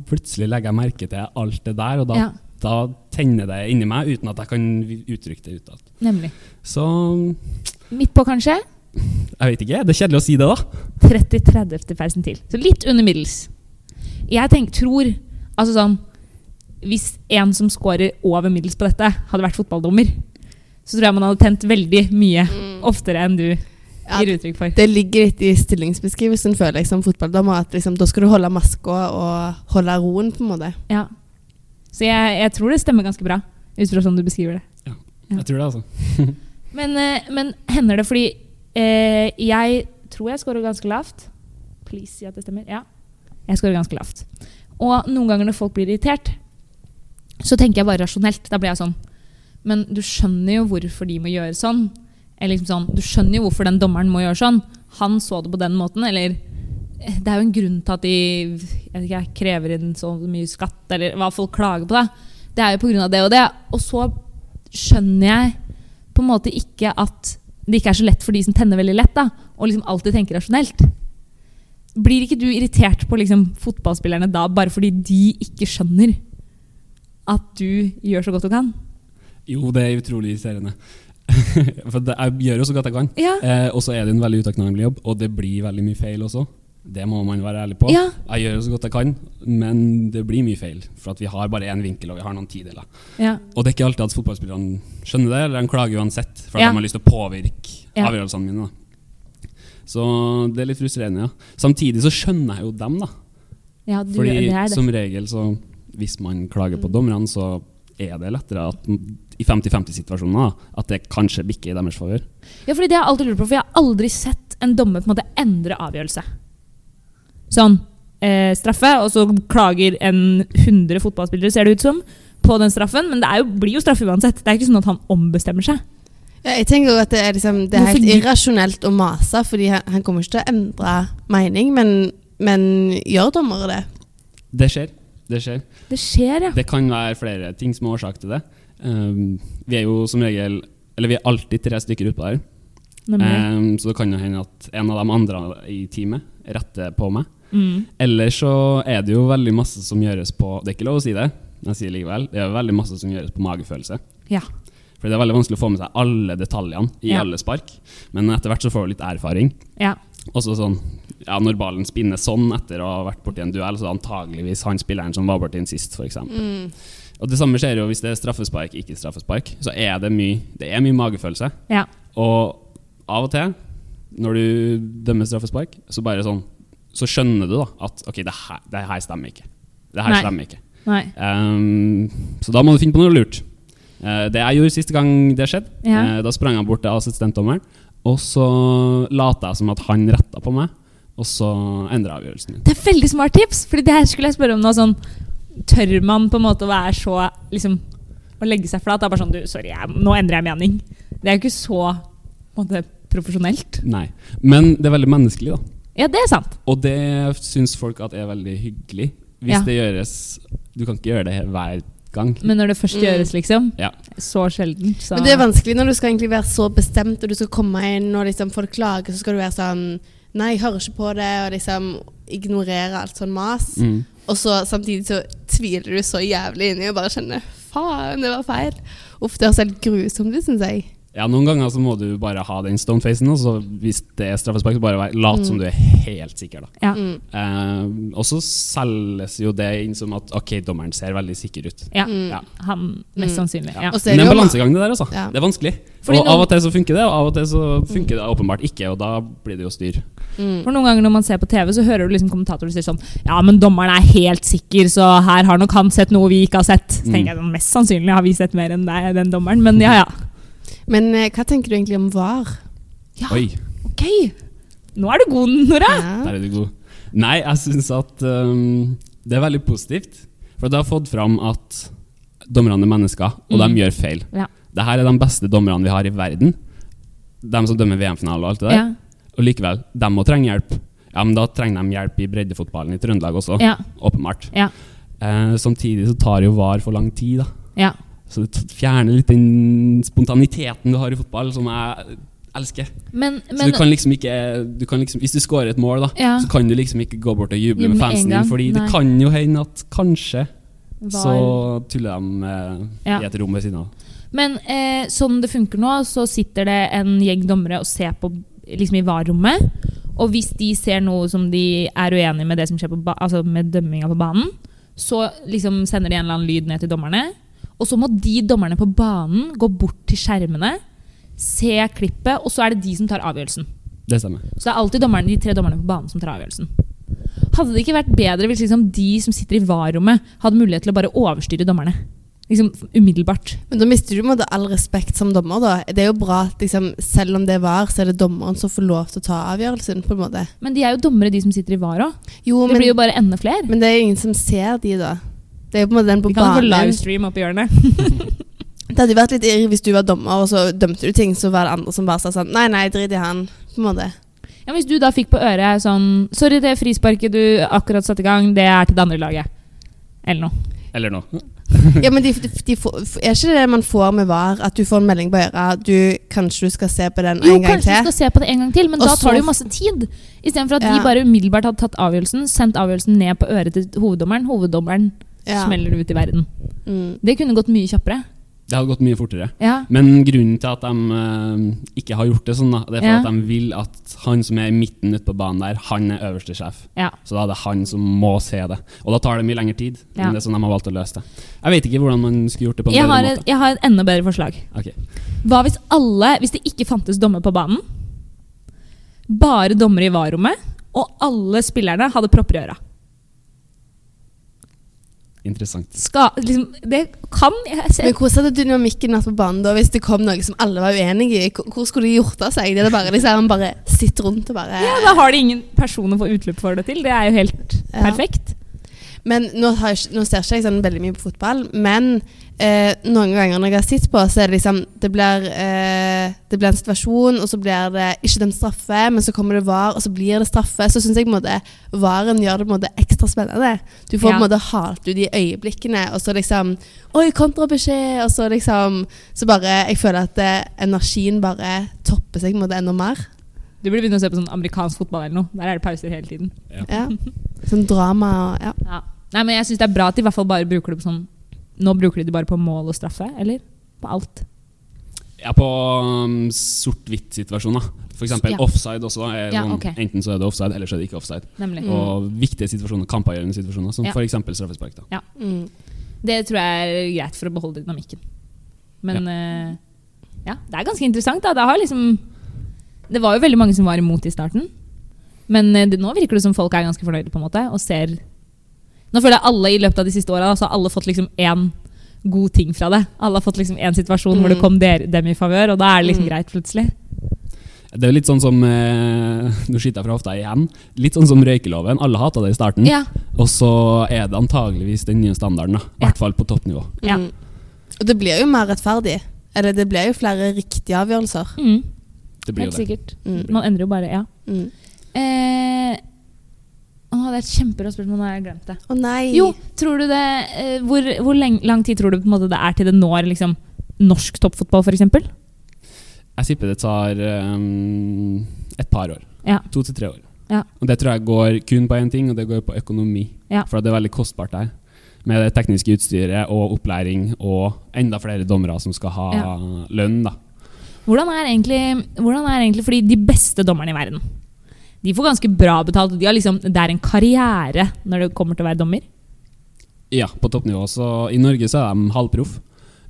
Speaker 3: plutselig legger jeg merke til alt det der, og da,
Speaker 1: Ja.
Speaker 3: da tenner det inni meg uten at jeg kan uttrykke det utad.
Speaker 1: Nemlig.
Speaker 3: Så
Speaker 1: Midt på, kanskje.
Speaker 3: jeg vet ikke. Det er kjedelig å si det, da.
Speaker 1: 30-30 persen til. Så litt under middels. Jeg tenk, tror Altså sånn Hvis en som scorer over middels på dette, hadde vært fotballdommer, så tror jeg man hadde tent veldig mye oftere enn du
Speaker 2: Ja,
Speaker 1: gir uttrykk for.
Speaker 2: Det ligger litt i stillingsbeskrivelsen, føler jeg, som fotballdommer, at liksom, da skal du holde maska og holde roen, på en måte.
Speaker 1: Ja. Så jeg, jeg tror det stemmer ganske bra, ut fra sånn du beskriver det. Ja.
Speaker 3: Jeg tror det, altså.
Speaker 1: Men, eh, men hender det fordi eh, Jeg tror jeg scorer ganske lavt. Please si at det stemmer. Ja. Jeg scorer ganske lavt. Og noen ganger når folk blir irritert, så tenker jeg bare rasjonelt. Da blir jeg sånn Men du skjønner jo hvorfor de må gjøre sånn. Eller liksom sånn Du skjønner jo hvorfor den dommeren må gjøre sånn. Han så det på den måten, eller eh, det er jo en grunn til at de jeg vet ikke, jeg krever inn så mye skatt, eller hva folk klager på. Da. Det er jo pga. det og det. Og så skjønner jeg på en måte ikke at det ikke er så lett for de som tenner veldig lett, da, og liksom alltid tenker rasjonelt. Blir ikke du irritert på liksom, fotballspillerne da bare fordi de ikke skjønner at du gjør så godt du kan?
Speaker 3: Jo, det er utrolig irriterende. For det, jeg gjør jo så godt jeg kan.
Speaker 1: Ja.
Speaker 3: Eh, og så er det en veldig utakknemlig jobb, og det blir veldig mye feil også. Det må man være ærlig på.
Speaker 1: Ja.
Speaker 3: Jeg gjør jo så godt jeg kan, men det blir mye feil. For at vi har bare én vinkel, og vi har noen tideler.
Speaker 1: ja.
Speaker 3: Og det er ikke alltid at fotballspillerne skjønner det, eller de klager uansett, for at
Speaker 1: Ja.
Speaker 3: de har lyst til å påvirke
Speaker 1: Ja.
Speaker 3: avgjørelsene mine. Da. Så det er litt frustrerende, ja. Samtidig så skjønner jeg jo dem, da.
Speaker 1: ja du,
Speaker 3: Fordi
Speaker 1: det er det. Mm.
Speaker 3: som regel så Hvis man klager på dommerne, så er det lettere at i 50-50-situasjoner da, at det kanskje bikker i deres favør.
Speaker 1: Ja, fordi det har jeg alltid lurt på, for jeg har aldri sett en dommer på en måte endre avgjørelse. Sånn, eh, straffe, og så klager en 100 fotballspillere, ser det ut som, på den straffen, men det er jo, blir jo straffe uansett. Det er ikke sånn at han ombestemmer seg.
Speaker 2: Ja, jeg tenker jo at det er, liksom, det er
Speaker 1: Hvorfor
Speaker 2: helt
Speaker 1: gi-
Speaker 2: irrasjonelt å mase, fordi han, han kommer ikke til å endre mening, men, men gjør dommere det?
Speaker 3: Det skjer. Det skjer.
Speaker 1: Det skjer, ja.
Speaker 3: Det kan være flere ting som er årsak til det. Um, vi er jo som regel Eller vi er alltid tre stykker utpå der.
Speaker 1: Nemlig.
Speaker 3: Um, så det kan jo hende at en av de andre i teamet retter på meg.
Speaker 1: Mm.
Speaker 3: Ellers så er det jo veldig masse som gjøres på Det er ikke lov å si det, men jeg sier det likevel. Det er jo veldig masse som gjøres på magefølelse.
Speaker 1: Ja.
Speaker 3: For det er veldig vanskelig å få med seg alle detaljene i
Speaker 1: Ja.
Speaker 3: alle spark. Men etter hvert så får du litt erfaring.
Speaker 1: ja.
Speaker 3: Også sånn, ja, Når ballen spinner sånn etter å ha vært borti en duell, så er det antageligvis han spilleren som var borti den sist, f.eks.
Speaker 2: Mm.
Speaker 3: Og det samme skjer jo hvis det er straffespark, ikke straffespark. Så er det mye, det er mye magefølelse.
Speaker 1: Ja.
Speaker 3: Og av og til, når du dømmer straffespark, så bare sånn Så skjønner du da at ok, det her, det her stemmer ikke. Det her
Speaker 1: Nei.
Speaker 3: stemmer ikke.
Speaker 1: Nei.
Speaker 3: Ehm, så da må du finne på noe lurt. Eh, det jeg gjorde siste gang det skjedde,
Speaker 1: Ja.
Speaker 3: eh, da sprang jeg bort til assistentdommeren, og så lata jeg som at han retta på meg, og så endra avgjørelsen min.
Speaker 1: Det er veldig smart tips, fordi det her skulle jeg spørre om nå, sånn, tør man på en måte å være så, liksom, å legge seg flat, det er bare sånn, du, sorry, jeg, nå endrer jeg mening. Det er jo ikke så, på en måte, profesjonelt.
Speaker 3: Nei. Men det er veldig menneskelig, da.
Speaker 1: Ja, det er sant.
Speaker 3: Og det syns folk at er veldig hyggelig. Hvis
Speaker 1: Ja.
Speaker 3: det gjøres Du kan ikke gjøre det hver gang.
Speaker 1: Men når det først gjøres, liksom,
Speaker 3: Ja.
Speaker 1: så sjelden, så
Speaker 2: Men det er vanskelig når du skal egentlig være så bestemt, og du skal komme inn og liksom folk klager, så skal du være sånn Nei, jeg hører ikke på det, og liksom ignorere alt sånn mas.
Speaker 3: Mm.
Speaker 2: Og så samtidig så tviler du så jævlig inni og bare kjenner Faen, det var feil. Uff, det høres helt grusomt ut, syns jeg.
Speaker 3: ja, noen ganger så må du bare ha den stonefacen, og så hvis det er straffespark, så bare vær- lat
Speaker 1: Mm.
Speaker 3: som du er helt sikker, da.
Speaker 1: ja.
Speaker 2: Mm.
Speaker 3: Eh, og så selges jo det inn som at ok, dommeren ser veldig sikker ut.
Speaker 1: Ja,
Speaker 2: Mm.
Speaker 3: Ja.
Speaker 1: han mest sannsynlig. Ja.
Speaker 2: Og så er det
Speaker 3: Men det er en
Speaker 2: jo
Speaker 3: balansegang, det der, altså.
Speaker 2: Ja.
Speaker 3: Det er vanskelig.
Speaker 1: Fordi
Speaker 3: og
Speaker 1: noen- Mm.
Speaker 3: av og til så funker det, og av og til så funker det åpenbart ikke, og da blir det jo styr.
Speaker 2: Mm.
Speaker 1: For noen ganger når man ser på TV, så hører du liksom kommentatorer si sånn Ja, men dommeren er helt sikker, så her har nok han sett noe vi ikke har sett. Så
Speaker 3: Mm.
Speaker 1: tenker jeg sånn, Mest sannsynlig har vi sett mer enn deg, den dommeren, men ja ja.
Speaker 2: Men eh, hva tenker du egentlig om VAR?
Speaker 1: Ah, Ja,
Speaker 3: Oi,
Speaker 1: ok. Nå er du god, Nora.
Speaker 2: Ja.
Speaker 3: der er du god. Nei, jeg syns at um, det er veldig positivt. For det har fått fram at dommerne er mennesker, og
Speaker 1: Mm.
Speaker 3: de gjør feil.
Speaker 1: Ja.
Speaker 3: Dette er de beste dommerne vi har i verden. De som dømmer VM-finale og alt det der.
Speaker 1: Ja,
Speaker 3: Og likevel, de må trenge hjelp. Ja, men da trenger de hjelp i breddefotballen i Trøndelag også.
Speaker 1: ja,
Speaker 3: Åpenbart.
Speaker 1: ja.
Speaker 3: Eh, samtidig så tar jo VAR for lang tid, da.
Speaker 1: ja.
Speaker 3: Så det t- fjerner litt den spontaniteten du har i fotball, som jeg elsker.
Speaker 1: Men,
Speaker 3: så
Speaker 1: men
Speaker 3: du kan liksom ikke du kan liksom, Hvis du scorer et mål, da,
Speaker 1: Ja.
Speaker 3: så kan du liksom ikke gå bort og juble
Speaker 1: Juble
Speaker 3: med
Speaker 1: med en
Speaker 3: fansen
Speaker 1: gang,
Speaker 3: din, fordi
Speaker 1: nei.
Speaker 3: det kan jo hende at kanskje
Speaker 1: var-
Speaker 3: så tuller de eh,
Speaker 1: Ja.
Speaker 3: i et rom ved siden av.
Speaker 1: Men eh, sånn det funker nå, så sitter det en gjeng dommere og ser på liksom i VAR-rommet. Og hvis de ser noe som de er uenig med det som skjer på ba altså med dømminga på banen, så liksom sender de en eller annen lyd ned til dommerne. Og så må de dommerne på banen gå bort til skjermene, se klippet, og så er det de som tar avgjørelsen.
Speaker 3: Det stemmer.
Speaker 1: Så det er alltid dommerne, de tre dommerne på banen som tar avgjørelsen. Hadde det ikke vært bedre hvis liksom de som sitter i VAR-rommet, hadde mulighet til å bare overstyre dommerne? Liksom umiddelbart.
Speaker 2: Men da mister du på en måte all respekt som dommer, da. Det er jo bra at liksom, selv om det er VAR, så er det dommeren som får lov til å ta avgjørelsen, på en måte.
Speaker 1: Men de er jo dommere, de som sitter i VAR òg.
Speaker 2: Jo,
Speaker 1: Det
Speaker 2: men,
Speaker 1: blir jo bare enda flere.
Speaker 2: men det er jo ingen som ser de, da. Det er jo på en måte den på
Speaker 1: Vi kan jo få
Speaker 2: banen.
Speaker 1: livestream opp i hjørnet.
Speaker 2: Det hadde jo vært litt irr hvis du var dommer, og så dømte du ting, så var det andre som bare sa sånn Nei, nei, drit i han. På en måte.
Speaker 1: Ja, men hvis du da fikk på øret sånn Sorry, det frisparket du akkurat satte i gang, det er til det andre laget. Eller noe.
Speaker 3: Eller noe.
Speaker 2: Ja, men de, de, de får, Er ikke det man får med VAR, at du får en melding på øret du, Kanskje du skal se på den
Speaker 1: Jo,
Speaker 2: en gang
Speaker 1: kanskje vi
Speaker 2: til?
Speaker 1: skal se på det en gang til, men
Speaker 2: Og
Speaker 1: da
Speaker 2: så-
Speaker 1: tar det jo masse tid. Istedenfor at
Speaker 2: Ja.
Speaker 1: de bare umiddelbart hadde tatt avgjørelsen, sendt avgjørelsen ned på øret til hoveddommeren. Hoveddommeren
Speaker 2: Ja.
Speaker 1: smeller det ut i verden.
Speaker 2: Mm.
Speaker 1: Det kunne gått mye kjappere.
Speaker 3: Det hadde gått mye fortere.
Speaker 1: Ja.
Speaker 3: Men grunnen til at de eh, ikke har gjort det sånn, da, det er for
Speaker 1: Ja.
Speaker 3: at de vil at han som er i midten ute på banen der, han er øverste sjef.
Speaker 1: Ja.
Speaker 3: Så da er det han som må se det. Og da tar det mye lengre tid.
Speaker 1: Ja.
Speaker 3: Men det er sånn de har valgt å løse det. Jeg vet ikke hvordan man skulle gjort det på en
Speaker 1: Jeg har,
Speaker 3: bedre
Speaker 1: et, jeg har et enda bedre forslag.
Speaker 3: måte. Ok.
Speaker 1: Hva hvis alle, hvis det ikke fantes dommer på banen, bare dommer i VAR-rommet, og alle spillerne hadde propper i øra?
Speaker 3: Interessant.
Speaker 1: Skal, liksom, det kan jeg se.
Speaker 2: Men hvordan hadde dynamikken vært på banen da hvis det kom noe som alle var uenige i? Hvor- Hvor skulle de gjort av seg? Det er det bare liksom bare sitt rundt og bare
Speaker 1: Ja, da har de ingen person å få utløp for det til. Det er jo helt
Speaker 2: Ja.
Speaker 1: perfekt.
Speaker 2: Men nå, har jeg, ikke- nå ser ikke jeg sånn veldig mye på fotball, men eh, noen ganger når jeg har sett på, så er det liksom Det blir, eh, det blir en situasjon, og så blir det ikke dømt straffe, men så kommer det VAR, og så blir det straffe. Så syns jeg på en måte VAR-en gjør det på en måte ekstra spennende. Du får
Speaker 1: Ja.
Speaker 2: på en måte halt ut de øyeblikkene, og så liksom Oi, kontrabeskjed! Og så liksom Så bare Jeg føler at eh, energien bare topper seg på en måte enda mer.
Speaker 1: Du burde begynne å se på sånn amerikansk fotball eller noe. Der er det pauser hele tiden.
Speaker 2: Ja. Sånn drama og Ja.
Speaker 1: Ja. Nei, men jeg syns det er bra at de i hvert fall bare bruker det på sånn Nå bruker de det bare på mål og straffe, eller? På alt.
Speaker 3: Ja, på um, sort-hvitt-situasjoner. For eksempel
Speaker 1: Ja.
Speaker 3: offside også. Er
Speaker 1: Ja,
Speaker 3: sånn,
Speaker 1: ok.
Speaker 3: Enten så er det offside, eller så er det ikke offside.
Speaker 1: Nemlig.
Speaker 3: Og viktige situasjoner, kampavgjørende situasjoner, som
Speaker 1: Ja.
Speaker 3: for eksempel straffespark. da.
Speaker 2: Mm.
Speaker 1: Det tror jeg er greit for å beholde dynamikken. Men eh, ja, det er ganske interessant. da. Det, har liksom, det var jo veldig mange som var imot i starten. Men eh, det, nå virker det som folk er ganske fornøyde på en måte, og ser Nå føler jeg alle i løpet av de siste åra har alle fått liksom én god ting fra det. Alle har fått liksom én situasjon hvor det
Speaker 2: Mm.
Speaker 1: kom der, dem i favør, og da er det liksom
Speaker 2: Mm.
Speaker 1: greit plutselig.
Speaker 3: Det er jo litt sånn som eh, Nå skyter jeg fra hofta igjen. Litt sånn som røykeloven. Alle hata det i starten.
Speaker 1: Ja.
Speaker 3: Og så er det antageligvis den nye standarden. da. I
Speaker 1: Ja.
Speaker 3: hvert fall på toppnivå.
Speaker 1: Ja.
Speaker 2: Mm. Og det blir jo mer rettferdig. Eller det blir jo flere riktige avgjørelser.
Speaker 1: Mm,
Speaker 3: Det blir
Speaker 1: helt
Speaker 3: jo det.
Speaker 1: sikkert.
Speaker 2: Mm.
Speaker 1: Man endrer jo bare, ja.
Speaker 2: Mm.
Speaker 1: Eh, å, det er et kjempebra spørsmål, nå har jeg glemt det.
Speaker 2: Å nei!
Speaker 1: Jo, tror du det eh, Hvor, hvor leng, lang tid tror du på en måte det er til det når liksom, norsk toppfotball, f.eks.?
Speaker 3: Jeg tipper det tar eh, et par år.
Speaker 1: Ja.
Speaker 3: To til tre år.
Speaker 1: Ja.
Speaker 3: Og det tror jeg går kun på én ting, og det går på økonomi.
Speaker 1: Ja.
Speaker 3: For det er veldig kostbart der. Med det tekniske utstyret og opplæring og enda flere dommere som skal ha
Speaker 1: Ja.
Speaker 3: lønn. da.
Speaker 1: Hvordan er egentlig, hvordan er egentlig Fordi de beste dommerne i verden De får ganske bra betalt. og De har liksom, det er en karriere når det kommer til å være dommer.
Speaker 3: Ja, på toppnivå. Så I Norge så er de halvproff.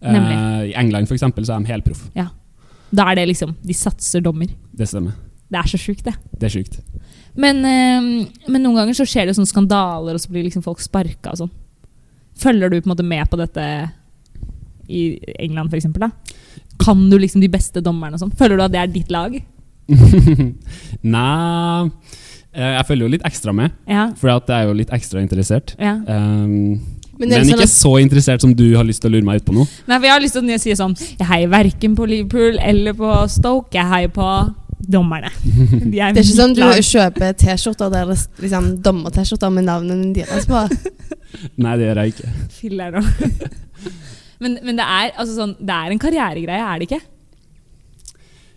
Speaker 3: Eh,
Speaker 1: Nemlig.
Speaker 3: I England for eksempel, så er de helproff.
Speaker 1: Da er det liksom De satser dommer.
Speaker 3: Det stemmer.
Speaker 1: Det er så sjukt, det.
Speaker 3: Det er sjukt.
Speaker 1: Men, eh, men noen ganger så skjer det sånne skandaler, og så blir liksom folk sparka og sånn. Følger du på en måte med på dette i England, for eksempel, da? Kan du liksom de beste dommerne og sånn? Føler du at det er ditt lag?
Speaker 3: Nei eh, Jeg følger jo litt ekstra med,
Speaker 1: Ja.
Speaker 3: for at jeg er jo litt ekstra interessert.
Speaker 1: ja.
Speaker 3: Um,
Speaker 2: Men
Speaker 3: men
Speaker 2: det er
Speaker 1: liksom
Speaker 2: jo sånn
Speaker 3: ikke så interessert som du har lyst til å lure meg ut på nå.
Speaker 1: Nei, for jeg har lyst til å si sånn Jeg heier verken på Liverpool eller på Stoke. Jeg heier på dommerne. De
Speaker 2: Det er ikke sånn
Speaker 1: mitt
Speaker 2: du
Speaker 1: lag.
Speaker 2: kjøper T-skjorter der det s- liksom dommer-T-skjorter med navnene Altså, deres på.
Speaker 3: Nei, det gjør jeg ikke.
Speaker 1: Filler nå. men men det, er, altså sånn, det er en karrieregreie, er det ikke?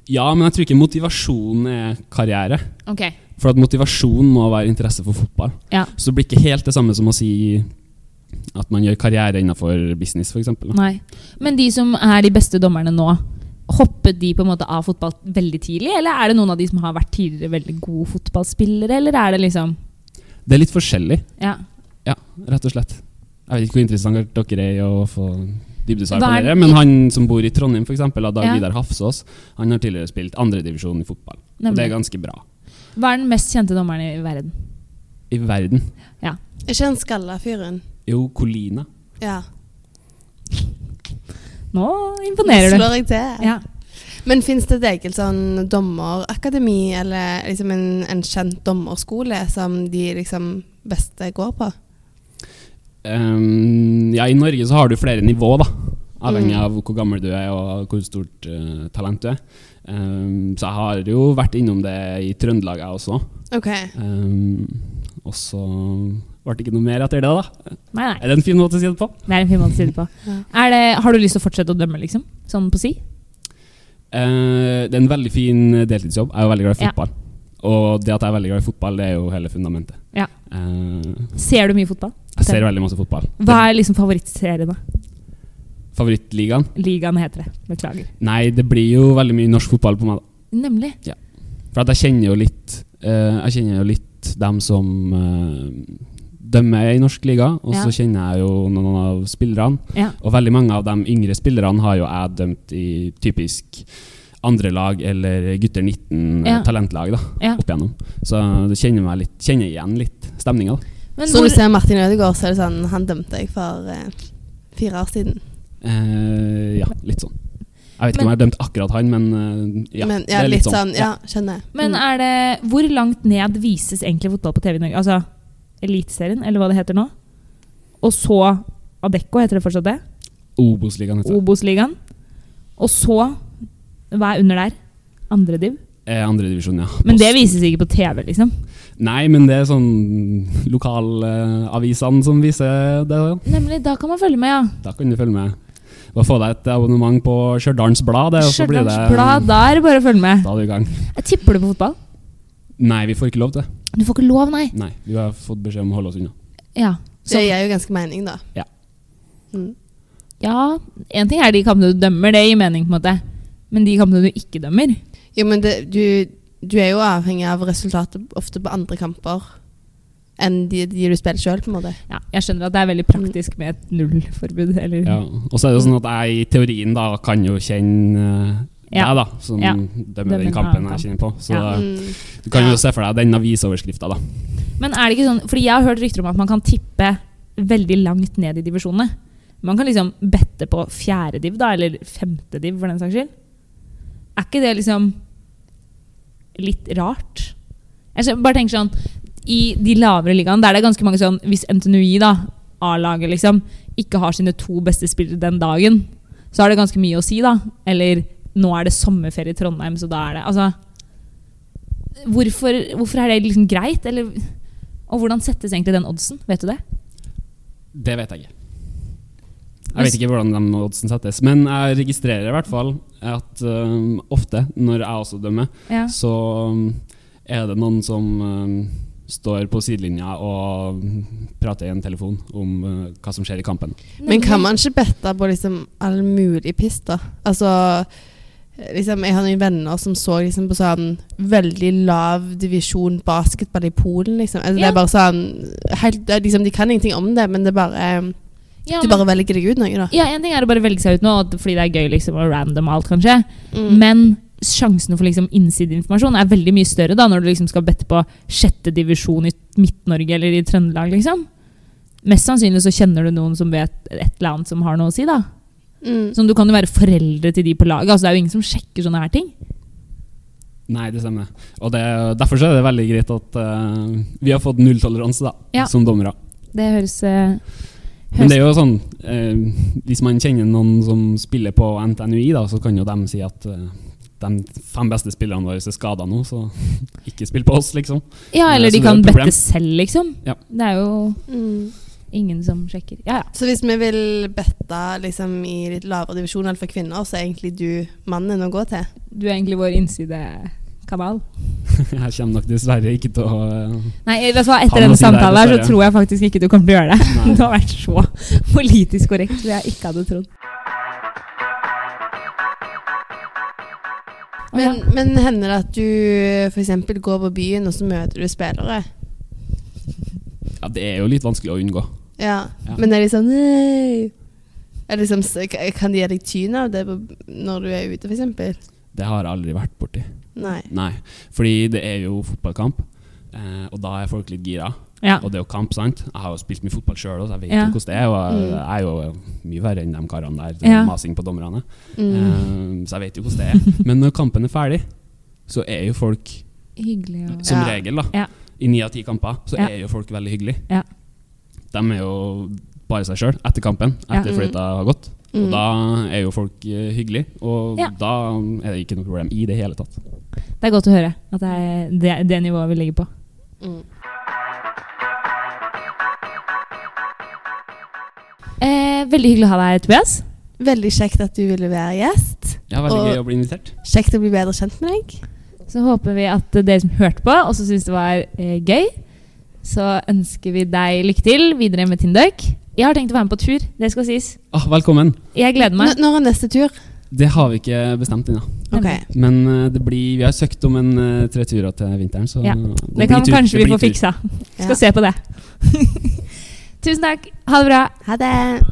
Speaker 3: Ja, men jeg tror ikke motivasjonen er karriere.
Speaker 1: Ok.
Speaker 3: For at motivasjon må være interesse for fotball.
Speaker 1: Ja.
Speaker 3: Så det blir ikke helt det samme som å si at man gjør karriere innenfor business, f.eks.
Speaker 1: Nei. Men de som er de beste dommerne nå, hoppet de på en måte av fotball veldig tidlig? Eller er det noen av de som har vært tidligere veldig gode fotballspillere? Eller er det liksom
Speaker 3: Det er litt forskjellig,
Speaker 1: ja.
Speaker 3: ja, rett og slett. Jeg vet ikke hvor interessant dere er i å få dybdesvar på
Speaker 1: Hva er-
Speaker 3: dere, men han som bor i Trondheim, f.eks., Dag
Speaker 1: Ja.
Speaker 3: Vidar Hafsås, han har tidligere spilt andredivisjon i fotball. Og det er
Speaker 1: Nemlig.
Speaker 3: ganske bra.
Speaker 1: Hva er den mest kjente dommeren i verden?
Speaker 3: I verden.
Speaker 2: Er ikke han skalla fyren?
Speaker 3: Jo, Colina.
Speaker 2: Ja.
Speaker 1: Nå imponerer du.
Speaker 2: Slår jeg til.
Speaker 1: Ja.
Speaker 2: Men fins det et eget sånn dommerakademi, eller liksom en, en kjent dommerskole som de liksom beste går på?
Speaker 3: Ehm, ja, I Norge så har du flere nivå, da. Avhengig
Speaker 2: Mm.
Speaker 3: av hvor gammel du er og hvor stort eh, talent du er. Ehm, så jeg har jo vært innom det i Trøndelag, jeg også.
Speaker 2: Ok.
Speaker 3: Ehm, og så Ble det ikke noe mer etter det, da?
Speaker 1: Nei, nei.
Speaker 3: Er det en fin måte å si det på?
Speaker 1: Det er en fin måte å si det på.
Speaker 2: Ja.
Speaker 1: Er det, har du lyst til å fortsette å dømme, liksom? Sånn på si?
Speaker 3: Eh, det er en veldig fin deltidsjobb. Jeg er jo veldig glad i
Speaker 1: Ja.
Speaker 3: fotball. Og det at jeg er veldig glad i fotball, det er jo hele fundamentet.
Speaker 1: Ja.
Speaker 3: Eh,
Speaker 1: Ser du mye fotball?
Speaker 3: jeg ser veldig masse fotball.
Speaker 1: Hva er liksom favorittserien, da?
Speaker 3: Favorittligaen?
Speaker 1: Ligaen heter det. Beklager.
Speaker 3: Nei, det blir jo veldig mye norsk fotball på meg. da.
Speaker 1: Nemlig.
Speaker 3: For at jeg kjenner jo litt eh, Jeg kjenner jo litt dem som eh, dømmer i norsk liga, og så kjenner jeg jo noen av spillerne.
Speaker 1: Ja.
Speaker 3: Og veldig mange av de yngre spillerne har jo jeg dømt i typisk andrelag eller gutter 19 eh,
Speaker 1: Ja.
Speaker 3: talentlag da,
Speaker 1: Ja.
Speaker 3: opp igjennom. Så det kjenner meg litt, kjenner igjen litt stemninga. da.
Speaker 1: Men
Speaker 2: Så
Speaker 1: hvor,
Speaker 2: hvis jeg er Martin Ødegaard, så er det sånn Han dømte jeg for eh, fire år siden.
Speaker 3: Eh, ja, litt sånn. Jeg vet ikke om
Speaker 1: Men-
Speaker 3: jeg har dømt akkurat han, men eh, ja.
Speaker 2: Men
Speaker 3: det
Speaker 2: ja,
Speaker 3: er
Speaker 2: litt sånn Ja, skjønner.
Speaker 1: men
Speaker 2: Mm.
Speaker 1: er det Hvor langt ned vises egentlig fotball på TV i Norge? Altså Eliteserien, eller hva det heter nå? Og så Adecco, heter det fortsatt det?
Speaker 3: Obos-ligaen heter det.
Speaker 1: Obos-ligaen. Og så Hva er under der? Andre div?
Speaker 3: Eh, Andredivisjon, ja.
Speaker 1: Men det
Speaker 3: Post.
Speaker 1: vises ikke på TV, liksom.
Speaker 3: Nei, men det er sånn lokalavisene som viser det. sånn.
Speaker 1: Nemlig. Da kan man følge med, ja.
Speaker 3: Da kan du følge med. Bare få deg et abonnement på Stjørdals Blad. det, og så blir det-
Speaker 1: Stjørdals Blad, da er det bare å følge med.
Speaker 3: Da er du i gang.
Speaker 1: Jeg tipper du på fotball?
Speaker 3: Nei, vi får ikke lov til det.
Speaker 1: Du får ikke lov, nei.
Speaker 3: Nei, Vi har fått beskjed om å holde oss unna.
Speaker 1: Ja.
Speaker 2: Det gir jo ganske mening, da.
Speaker 3: Ja.
Speaker 2: Mm.
Speaker 1: Ja, en ting er de kampene du dømmer, det gir mening, på en måte. Men de kampene du ikke dømmer
Speaker 2: Jo, men det, du, du er jo avhengig av resultatet ofte på andre kamper enn de, de du spiller sjøl, på en måte.
Speaker 1: ja, Mm. Jeg skjønner at det er veldig praktisk med et nullforbud. Eller,
Speaker 3: Ja. Og så er det jo sånn at jeg i teorien da kan jo kjenne eh,
Speaker 1: Ja.
Speaker 3: deg, da, som
Speaker 1: Ja.
Speaker 3: dømmer
Speaker 1: Dømmer en
Speaker 3: den kampen
Speaker 1: annen
Speaker 3: jeg kjenner på. Så
Speaker 1: Ja.
Speaker 3: eh,
Speaker 2: Mm.
Speaker 3: du kan
Speaker 2: Ja.
Speaker 3: jo se for deg den avisoverskrifta, da.
Speaker 1: Men er det ikke sånn Fordi jeg har hørt rykter om at man kan tippe veldig langt ned i divisjonene. Man kan liksom bette på fjerde div, da, eller femte div, for den saks skyld. Er ikke det liksom litt rart? Jeg skjø- bare tenker sånn I de lavere ligaene, der det er ganske mange sånn Hvis NTNUI, da, A-laget, liksom, ikke har sine to beste spillere den dagen, så har det ganske mye å si, da. Eller nå er det sommerferie i Trondheim, så da er det Altså Hvorfor, hvorfor er det liksom greit? Eller, og hvordan settes egentlig den oddsen? Vet du det?
Speaker 3: Det vet jeg ikke. Jeg vet ikke hvordan de oddsen settes. Men jeg registrerer i hvert fall at eh, ofte, når jeg også dømmer,
Speaker 1: Ja.
Speaker 3: så um, er det noen som um, står på sidelinja og prater i en telefon om uh, hva som skjer i kampen.
Speaker 2: Men kan man ikke bette på liksom all mulig piss, da? Altså liksom, Jeg har noen venner som så liksom, på sånn veldig lav divisjon basketball i Polen, liksom. Altså, Det
Speaker 1: Ja.
Speaker 2: er bare sånn helt, det er liksom, De kan ingenting om det, men det er bare
Speaker 1: ja,
Speaker 2: Du
Speaker 1: men-
Speaker 2: bare velger deg ut noe, da.
Speaker 1: ja, En ting er å bare velge seg ut nå at- fordi det er gøy liksom, og random og alt, kanskje.
Speaker 2: Mm.
Speaker 1: Men sjansene for liksom, innsideinformasjon er veldig mye større da, når du liksom skal bette på sjette divisjon i Midt-Norge eller i Trøndelag. Liksom. Mest sannsynlig så kjenner du noen som vet et eller annet som har noe å si. da.
Speaker 2: Mm.
Speaker 1: Sånn, du kan jo være foreldre til de på laget. Altså, det er jo ingen som sjekker sånne her ting.
Speaker 3: Nei, det stemmer. Og det, derfor så er det veldig greit at uh, vi har fått nulltoleranse da,
Speaker 1: Ja.
Speaker 3: som dommere.
Speaker 1: Det høres, eh,
Speaker 3: Men
Speaker 1: høres
Speaker 3: det er jo sånn, eh, hvis man kjenner noen som spiller på NTNUI, da, så kan jo de si at eh, de fem beste spillerne våre er skada nå, så ikke spill på oss, liksom.
Speaker 1: Ja,
Speaker 3: Men
Speaker 1: eller de
Speaker 3: det som er
Speaker 1: kan
Speaker 3: et problem-
Speaker 1: bette selv, liksom.
Speaker 3: Ja.
Speaker 1: Det er jo
Speaker 2: Mm.
Speaker 1: ingen som sjekker. Ja, ja.
Speaker 2: Så hvis vi vil bette liksom, i litt lavere divisjon enn for kvinner, så er egentlig du mannen å gå til?
Speaker 1: Du er egentlig vår innsidekanal.
Speaker 3: Jeg kommer nok dessverre ikke til å eh,
Speaker 1: Nei, vet du hva, etter
Speaker 3: Han
Speaker 1: denne
Speaker 3: må si det her,
Speaker 1: samtalen her, så
Speaker 3: dessverre.
Speaker 1: tror jeg faktisk ikke du kommer til å gjøre det.
Speaker 3: Nei.
Speaker 1: Du har vært så politisk korrekt som jeg ikke hadde trodd. Å, ja.
Speaker 2: Men, men hender det at du f.eks. går på byen, og så møter du spillere?
Speaker 3: Ja, det er jo litt vanskelig å unngå.
Speaker 2: Ja.
Speaker 3: Ja.
Speaker 2: Men er de sånn Nei. Er det liksom, s- k- kan de gi deg tyn av det på- når du er ute, f.eks.?
Speaker 3: Det har jeg aldri vært borti.
Speaker 2: Nei.
Speaker 3: Nei, fordi det er jo fotballkamp, eh, og da er folk litt gira.
Speaker 1: ja.
Speaker 3: Og det er jo kamp, sant? Jeg har jo spilt mye fotball sjøl, så jeg vet jo
Speaker 1: Ja.
Speaker 3: hvordan det er. Og jeg,
Speaker 2: Mm.
Speaker 3: jeg er jo mye verre enn de karene der.
Speaker 1: Ja.
Speaker 3: Masing på dommerne.
Speaker 2: Mm.
Speaker 3: Eh, så jeg vet jo hvordan det er. Men når kampen er ferdig, så er jo folk,
Speaker 1: Hyggelig. å-
Speaker 3: som
Speaker 2: Ja.
Speaker 3: regel, da
Speaker 1: Ja.
Speaker 3: i ni av ti kamper, så
Speaker 1: Ja.
Speaker 3: er jo folk veldig hyggelige.
Speaker 1: Ja.
Speaker 3: De er jo bare seg sjøl etter kampen,
Speaker 1: Ja.
Speaker 3: etter
Speaker 2: Mm.
Speaker 3: fløyta har gått. Og
Speaker 2: Mm.
Speaker 3: da er jo folk eh, hyggelige, og
Speaker 1: Ja.
Speaker 3: da er det ikke noe problem i det hele tatt.
Speaker 1: Det er godt å høre at det er det, det nivået vi ligger på.
Speaker 2: Mm.
Speaker 1: Eh, veldig hyggelig å ha deg her, Tobias.
Speaker 2: Veldig kjekt at du ville være gjest.
Speaker 3: Ja, veldig
Speaker 2: Og-
Speaker 3: gøy å bli invitert.
Speaker 2: Kjekt å bli bedre kjent med deg.
Speaker 1: Så håper vi at eh, dere som hørte på, også syntes det var eh, gøy. Så ønsker vi deg lykke til videre med Tindøk. Jeg har tenkt å være med på tur. Det skal sies.
Speaker 3: Ah, velkommen.
Speaker 1: Jeg gleder
Speaker 2: N
Speaker 1: meg.
Speaker 2: når er neste tur?
Speaker 3: Det har vi ikke bestemt ennå.
Speaker 2: Ok.
Speaker 3: Men eh, det blir, vi har søkt om en eh, tre turer til vinteren, så
Speaker 1: Ja,
Speaker 3: det,
Speaker 1: Det
Speaker 3: blir
Speaker 1: kan
Speaker 3: tur.
Speaker 1: kanskje vi
Speaker 3: blir
Speaker 1: få
Speaker 3: tur.
Speaker 1: fiksa.
Speaker 2: Ja.
Speaker 1: Skal se på det. Tusen takk. Ha det bra.
Speaker 2: Ha det.